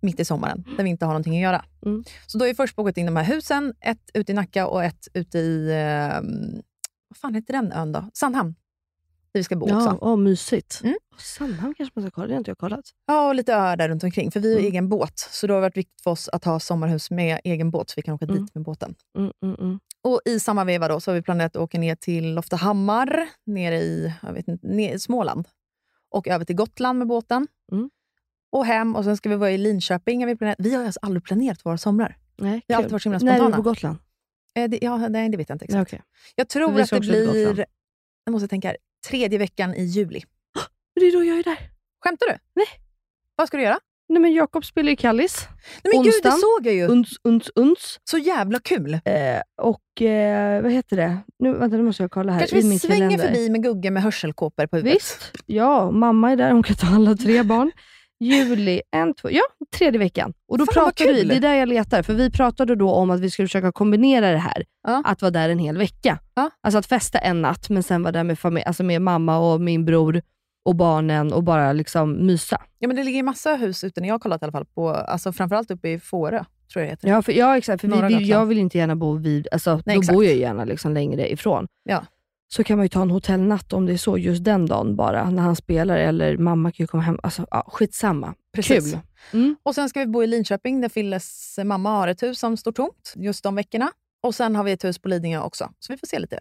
mitt i sommaren där vi inte har någonting att göra.
Mm.
Så då har vi först bokat in de här husen. Ett ute i Nacka och ett ute i, eh, vad fan heter den ön då? Sandhamn. Där vi ska bo
Ja,
också.
åh, mysigt.
Mm.
Sandhamn kanske man ska kolla, det har inte jag kollat.
Ja, och lite öar där runt omkring. För vi har
Mm.
egen båt, så då har det varit viktigt för oss att ha sommarhus med egen båt, så vi kan åka
Mm.
dit med båten.
Mm, mm, mm.
Och I samma veva då, så har vi planerat att åka ner till Loftahammar, nere i jag vet inte, ner, i Småland. Och över till Gotland med båten.
Mm.
Och hem. Och Sen ska vi vara i Linköping. Har vi, planerat. vi har alltså aldrig planerat våra somrar.
Nej,
Vi har
kul.
alltid varit så himla
När är
spontana.
du på Gotland?
Eh, det, ja, nej, det vet jag inte exakt.
okej.
Jag tror
Vi
att
ska
det
också till Gotland.
blir, jag måste tänka här, tredje veckan i juli.
Men Det är då jag är där.
Skämtar du?
Nej.
Vad ska du göra?
Nej men Jakob spelar ju Kallis.
Nej, men gud, det
Onsdagen.
såg jag ju!
Uns, uns, uns.
Så jävla kul!
Eh, och eh, vad heter det? Nu, vänta, nu måste jag kolla här
Kanske
i
vi
min
svänger
kalender.
förbi med Gugge med hörselkåpor på huvudet.
Visst. Ja, mamma är där. Hon kan ta alla [LAUGHS] tre barn. Juli, en, två, ja, tredje veckan. Och då
Fan, vad
pratade vi,
kul.
det är där jag letar, för vi pratade då om att vi skulle försöka kombinera det här.
Ja.
Att vara där en hel vecka.
Ja.
Alltså att festa en natt, men sen vara där med, familj, alltså med mamma och min bror och barnen och bara liksom mysa.
Ja, men det ligger ju massa hus ute, när jag har kollat i alla fall, på, alltså, framförallt uppe i Fårö. Tror jag det heter.
Ja, för, ja exakt. För
Norra
vi, vi, jag
Gotland.
vill inte gärna bo vid, alltså, då
exakt.
bor jag gärna liksom längre ifrån.
Ja.
Så kan man ju ta en hotellnatt om det är så just den dagen bara, när han spelar eller mamma kan ju komma hem. Alltså, ja, skitsamma.
Precis.
Kul. Mm.
Och Sen ska vi bo i Linköping där Filles mamma har ett hus som står tomt just de veckorna. Och Sen har vi ett hus på Lidingö också, så vi får se lite.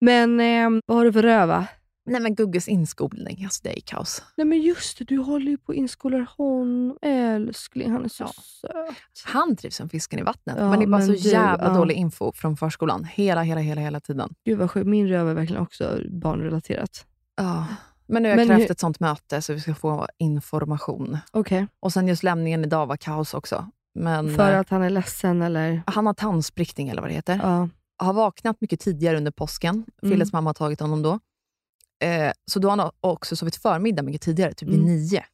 Men eh, vad har du för röva?
Nej men Gugges inskolning, alltså det är ju kaos.
Nej men just det, du håller ju på och inskolar honom. Älskling, han är så
Ja.
söt.
Han trivs som fisken i vattnet,
Ja,
men det är bara
men
så
du,
jävla
ja.
dålig info från förskolan. Hela, hela, hela, hela tiden.
Gud vad sjukt, min röva är verkligen också barnrelaterat.
Ja. ah. Men nu har jag
Ah. Men
krävt
hur-
ett sånt möte så vi ska få information.
Okej.
Och sen just lämningen idag var kaos också. Men
För
eh,
att han är ledsen eller?
han har tandsprickning eller vad det heter.
Ja.
Har vaknat mycket tidigare under påsken.
Mm.
Filles mamma har tagit honom då. Eh, så då har han också sovit förmiddag mycket tidigare, typ vid
Mm.
nio.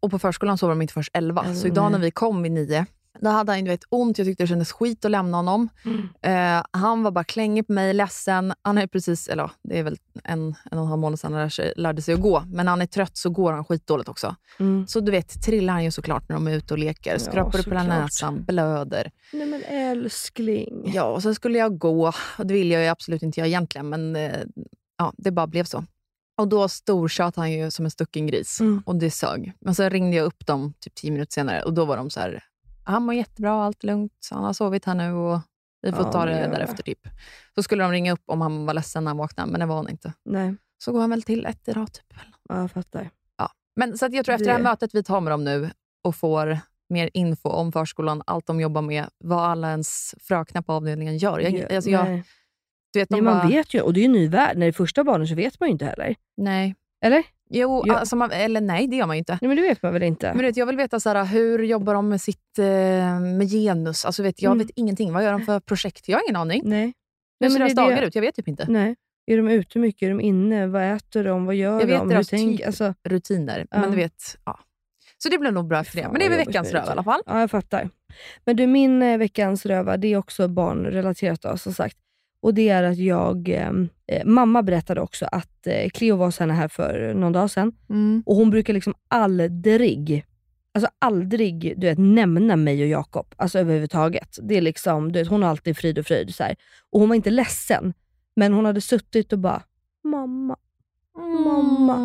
Och på förskolan sover de inte förrän elva.
Elva,
så idag när
nej.
vi kom vid nio, då hade han ju, du vet, ont. Jag tyckte det kändes skit att lämna honom.
Mm.
Eh, han var bara klängig på mig, ledsen. Han har ju precis, eller ja, det är väl en, en och en halv månad sedan han lär sig, lärde sig att gå. Men när han är trött så går han skitdåligt också.
Mm.
Så du vet, trillar han ju såklart när de är ute och leker. Skrapar upp hela
såklart.
näsan, blöder.
Nej men älskling.
Ja, och sen skulle jag gå. Och det ville jag ju absolut inte göra egentligen, men eh, ja, det bara blev så. Och då stortjatade han ju som en stucken gris
Mm.
och det sög. Men sen ringde jag upp dem typ tio minuter senare och då var de så här, han mår jättebra, allt är lugnt, så han har sovit här nu och Vi får
Ja,
ta
men
det
gör
därefter.
det.
Typ. Så skulle de ringa upp om han var ledsen när han vaknade, men det var han inte.
Nej,
Så går han väl till ett i rad. Typ. eller något.
ja, jag fattar.
Men, så att jag tror efter det...
Det-
här mötet vi tar med dem nu och får mer info om förskolan, allt de jobbar med, vad alla ens fröknar på avdelningen gör. Jag, alltså jag,
nej.
du vet, de
nej, man
bara,
vet ju, och det är ju en ny värld. När det är första barnen så vet man ju inte heller.
Nej.
Eller?
Jo,
Ja.
alltså man, eller nej, det gör man ju inte.
Nej, men det vet man väl inte?
Men du vet, jag vill veta så här, hur jobbar de med sitt eh, med genus? Alltså, vet, jag
Mm.
vet ingenting. Vad gör de för projekt? Jag har ingen aning.
nej.
Hur
Nej,
ser
men
deras
det är det-
dagar ut? Jag vet typ inte.
nej. Är de ute mycket? Är de inne? Vad äter de? Vad gör
Jag vet
de?
deras
tänk-
typ.
alltså,
Rutiner.
Ja.
Men du vet, ja. Så det blev nog bra efter det.
Fan,
Men det är väl
vad jobbigt
veckans
med
röv i alla fall.
Ja, jag fattar. Men du, min eh, veckans röva, det är också barnrelaterat då, som sagt. Och det är att jag, eh, eh, mamma berättade också att eh, Cleo var hos henne här för någon dag sedan och hon brukar liksom aldrig, alltså aldrig du vet, nämna mig och Jakob. Alltså överhuvudtaget. Det är liksom, du vet, hon har alltid frid och fröjd. Så här. Och hon var inte ledsen, men hon hade suttit och bara, mamma,
Mm.
mamma,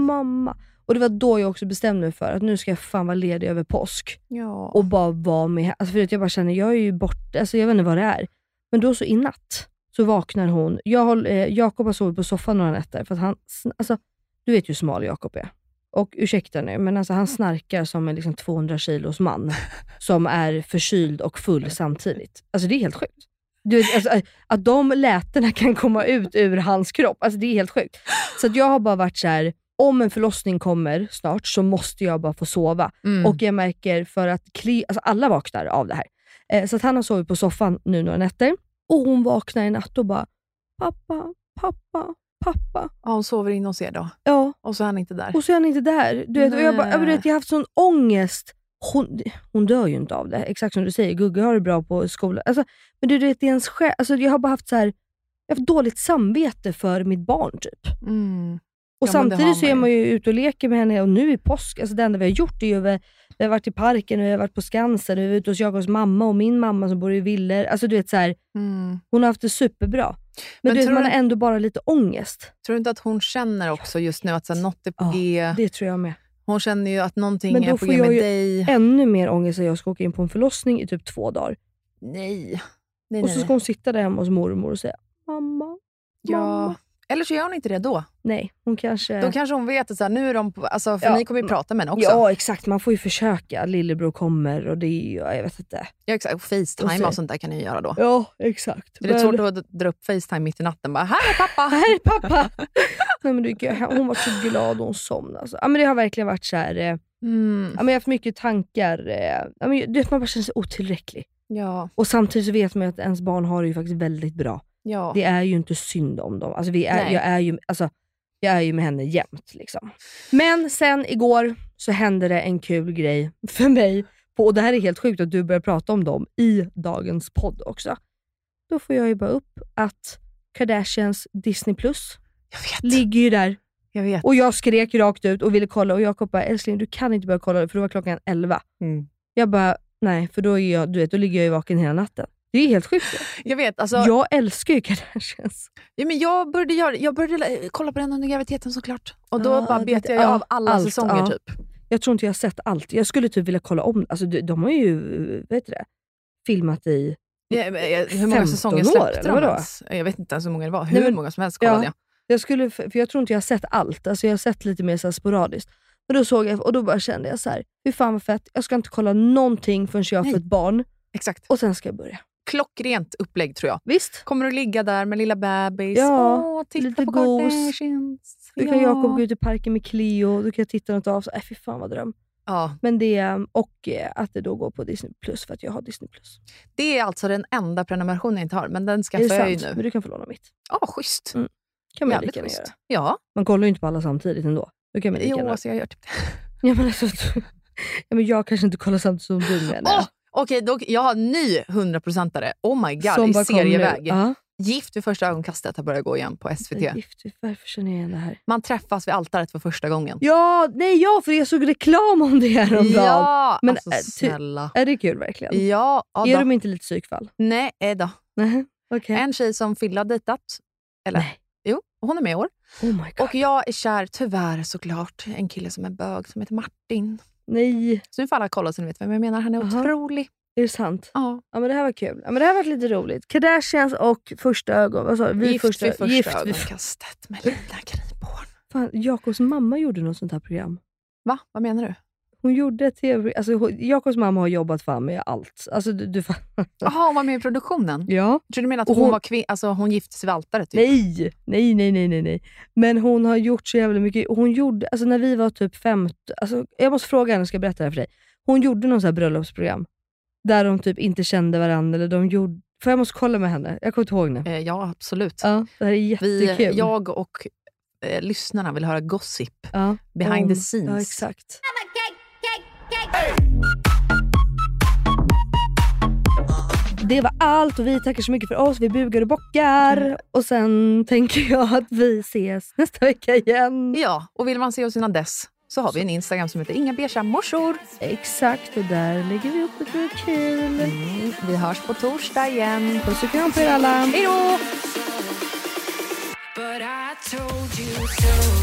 mamma. Och det var då jag också bestämde mig för att nu ska jag fan vara ledig över påsk
Ja.
och bara vara med henne. Alltså för att jag bara känner, jag är ju borta, alltså jag vet inte vad det är. Men då så i natt så vaknar hon. Jag håll, eh, Jakob har sovit på soffan några nätter för att han, sn- alltså du vet ju hur smal Jakob är. Och ursäkta nu, men alltså han snarkar som en liksom 200 kilos man som är förkyld och full samtidigt. Alltså det är helt sjukt. Du vet, alltså, eh, att de lätena kan komma ut ur hans kropp, alltså det är helt sjukt. Så att jag har bara varit så här. om en förlossning kommer snart så måste jag bara få sova.
Mm.
Och jag märker för att Cle- alltså alla vaknar av det här. Eh, så att han har sovit på soffan nu några nätter och hon vaknar i natt och bara “pappa, pappa, pappa”.
ja, hon sover in hos er då.
Ja,
Och så är han inte där.
och så är han inte där. Du vet, och jag, bara, ja, men du vet, jag har haft sån ångest. Hon, hon dör ju inte av det, exakt som du säger. Gugge har det bra på skolan. Alltså, men du vet, det är ens själ. Alltså, jag har bara haft så här, jag har haft dåligt samvete för mitt barn. typ.
Mm.
Och
Ja, men det har
samtidigt så är
man ju.
man ju ute och leker med henne och nu i påsk, alltså det enda vi har gjort är ju vi, vi har varit i parken, och vi har varit på Skansen, och vi har varit ute hos Jakobs mamma och min mamma som bor i villor. Alltså du vet så här,
Mm.
hon har haft det superbra. Men,
Men
du vet,
tror
man
du-
har ändå bara lite ångest.
Tror du inte att hon känner också just nu att så här, något är på
Ja,
G?
Det tror jag med.
Hon känner ju att någonting
Men då
är på
får
G
jag
med
ju-
dig.
Ännu mer ångest att jag ska åka in på en förlossning i typ två dagar.
Nej. nej,
Och så
nej,
ska
nej.
hon sitta där hemma hos mormor och säga mamma,
Ja.
mamma.
Eller så gör hon inte det då.
Nej, hon kanske...
Då kanske hon vet att så här, nu är de på, alltså, för
Ja. Mm.
ni kommer ju prata med henne också.
Ja, exakt. Man får ju försöka. Lillebror kommer och det är ju... ja, Jag vet inte.
Ja, exakt. Och Facetime och sånt där kan ni ju göra då.
Ja, exakt.
Det är lite svårt att dra upp Facetime mitt i natten bara, här är pappa!
Här är pappa! [LAUGHS] Nej, men du, gud, hon var så glad och hon somnade. Alltså. Ja, men det har verkligen varit så här, eh, ja,
Mm.
men jag har haft mycket tankar. eh, Ja, men, du vet, man bara känner sig otillräcklig.
Ja,
Och samtidigt så vet man ju att ens barn har det ju faktiskt väldigt bra.
ja.
Det är ju inte synd om dem. Alltså, vi är,
Nej.
jag, är ju, alltså, jag är ju med henne jämt. Liksom. Men sen igår så hände det en kul grej för mig. På, och Det här är helt sjukt att du börjar prata om dem i dagens podd också. Då får jag ju bara upp att Kardashians Disney Plus
Jag vet.
ligger ju där.
Jag vet.
Och jag skrek rakt ut och ville kolla och Jakob bara, älskling du kan inte börja kolla det", för då var klockan 11.
Mm.
Jag bara, nej för då, är jag, du vet, då ligger jag ju vaken hela natten. Det är ju helt sjukt.
Jag vet. Alltså, jag...
Jag älskar ju Kardashians.
Ja, men jag började, göra, jag började eh, kolla på den under graviditeten såklart. Och då
Ja,
bara bet
det-
jag ju
ja,
av alla
allt,
säsonger
ja.
typ.
Jag tror inte jag har sett allt. Jag skulle typ vilja kolla om alltså, de, de har ju vet du det, filmat i...
Ja, men, eh, hur många
15
säsonger
år,
släppte
eller
de
vadå?
ens? Eh, Jag vet inte ens hur många det var. Hur
Nej, men-
många som helst
ja.
kollade jag.
Jag, skulle, för för jag tror inte jag har sett allt. Alltså, jag har sett lite mer så här sporadiskt. Men då såg jag och då bara kände jag så här, hur fan vad fett. Jag ska inte kolla någonting förrän jag
Nej.
får ett barn
Exakt.
och sen ska jag börja.
Klockrent upplägg tror jag.
Visst?
Kommer att ligga där med lilla bebis.
Ja,
Åh, titta
lite
på
gos.
Kardashians.
Då kan Jakob gå ut i parken med Cleo, då kan jag titta något av. Så, äh, fy fan vad dröm.
Ja,
Men det, ehm, och eh, att det då går på Disney plus för att jag har Disney plus.
det är alltså den enda prenumerationen jag inte har, men den
Är det
skaffar jag ju
sant?
nu.
Men du kan få låna mitt.
Ja, schysst.
Mm, kan man ju
Jävligt
lika gärna
schysst.
göra.
Ja,
Man kollar ju inte på alla samtidigt ändå. Då kan man lika
jo,
gärna
alltså jag gör typ det.
Ja, men alltså, ja, men jag kanske inte kollar samtidigt som du menar jag.
Åh! Okej, då, jag har en ny 100-procentare. Oh my god,
Som
i
bara kom nu.
serieväg.
Ja.
Gift vid första ögonkastet har börjat gå igen på SVT.
Gift, varför känner jag igen det här?
Man träffas vid altaret för första gången.
Ja, nej ja, för jag såg reklam om det häromdagen.
Ja,
Men,
alltså
äh, ty-
snälla.
Är det kul verkligen?
Ja, ja
Är
då.
de inte lite psykfall?
Nej, eh då.
Nej, okej.
En tjej som Fille har dejtat. Eller?
Nej.
Jo, hon är med i år.
Oh my god.
Och jag är kär, tyvärr såklart, i en kille som är bög som heter Martin.
Nej.
Så nu får alla kolla så ni vet vem jag menar. Han är
Aha.
otrolig.
Är det sant?
Ja.
Ja men det här var kul. Ja, men det här var lite roligt. Kardashians och första ögon. Vad sa du? Vi
Gift
första,
vid första
gift vid för-
Ögonkastet med Lina Griborn.
Fan, Jakobs mamma gjorde något sånt här program.
Va? Vad menar du?
Hon gjorde ett tv alltså, hon- Jakobs mamma har jobbat fan med allt. Alltså, du, du, fan-
Jaha, hon var med i produktionen?
[LAUGHS] ja.
Jag trodde du menade att
Och
hon,
hon-
var kvin- alltså, hon gifte sig vid altaret? Typ.
Nej, nej, nej, nej, nej, nej. Men hon har gjort så jävla mycket. Hon gjorde, alltså när vi var typ 15, alltså, jag måste fråga henne, ska jag berätta det här för dig. Hon gjorde någon så här bröllopsprogram, där de typ inte kände varandra. Eller de gjorde, för jag måste kolla med henne, jag kommer inte ihåg nu.
Eh, ja, absolut.
Ja, det här är
Vi,
jättekul.
jag och eh, lyssnarna vill höra gossip.
ja,
Behind
om-
the scenes.
Ja, exakt. Det var allt och vi tackar så mycket för oss. Vi bugar och bockar. Och sen tänker jag att vi ses nästa vecka igen.
Ja, och vill man se oss innan dess så har vi en Instagram som heter Inga Beiga morsor.
Exakt, och där lägger vi upp lite kul.
Mm, vi hörs på torsdag igen.
Puss och kram på er alla.
Hej då!
But I told you so.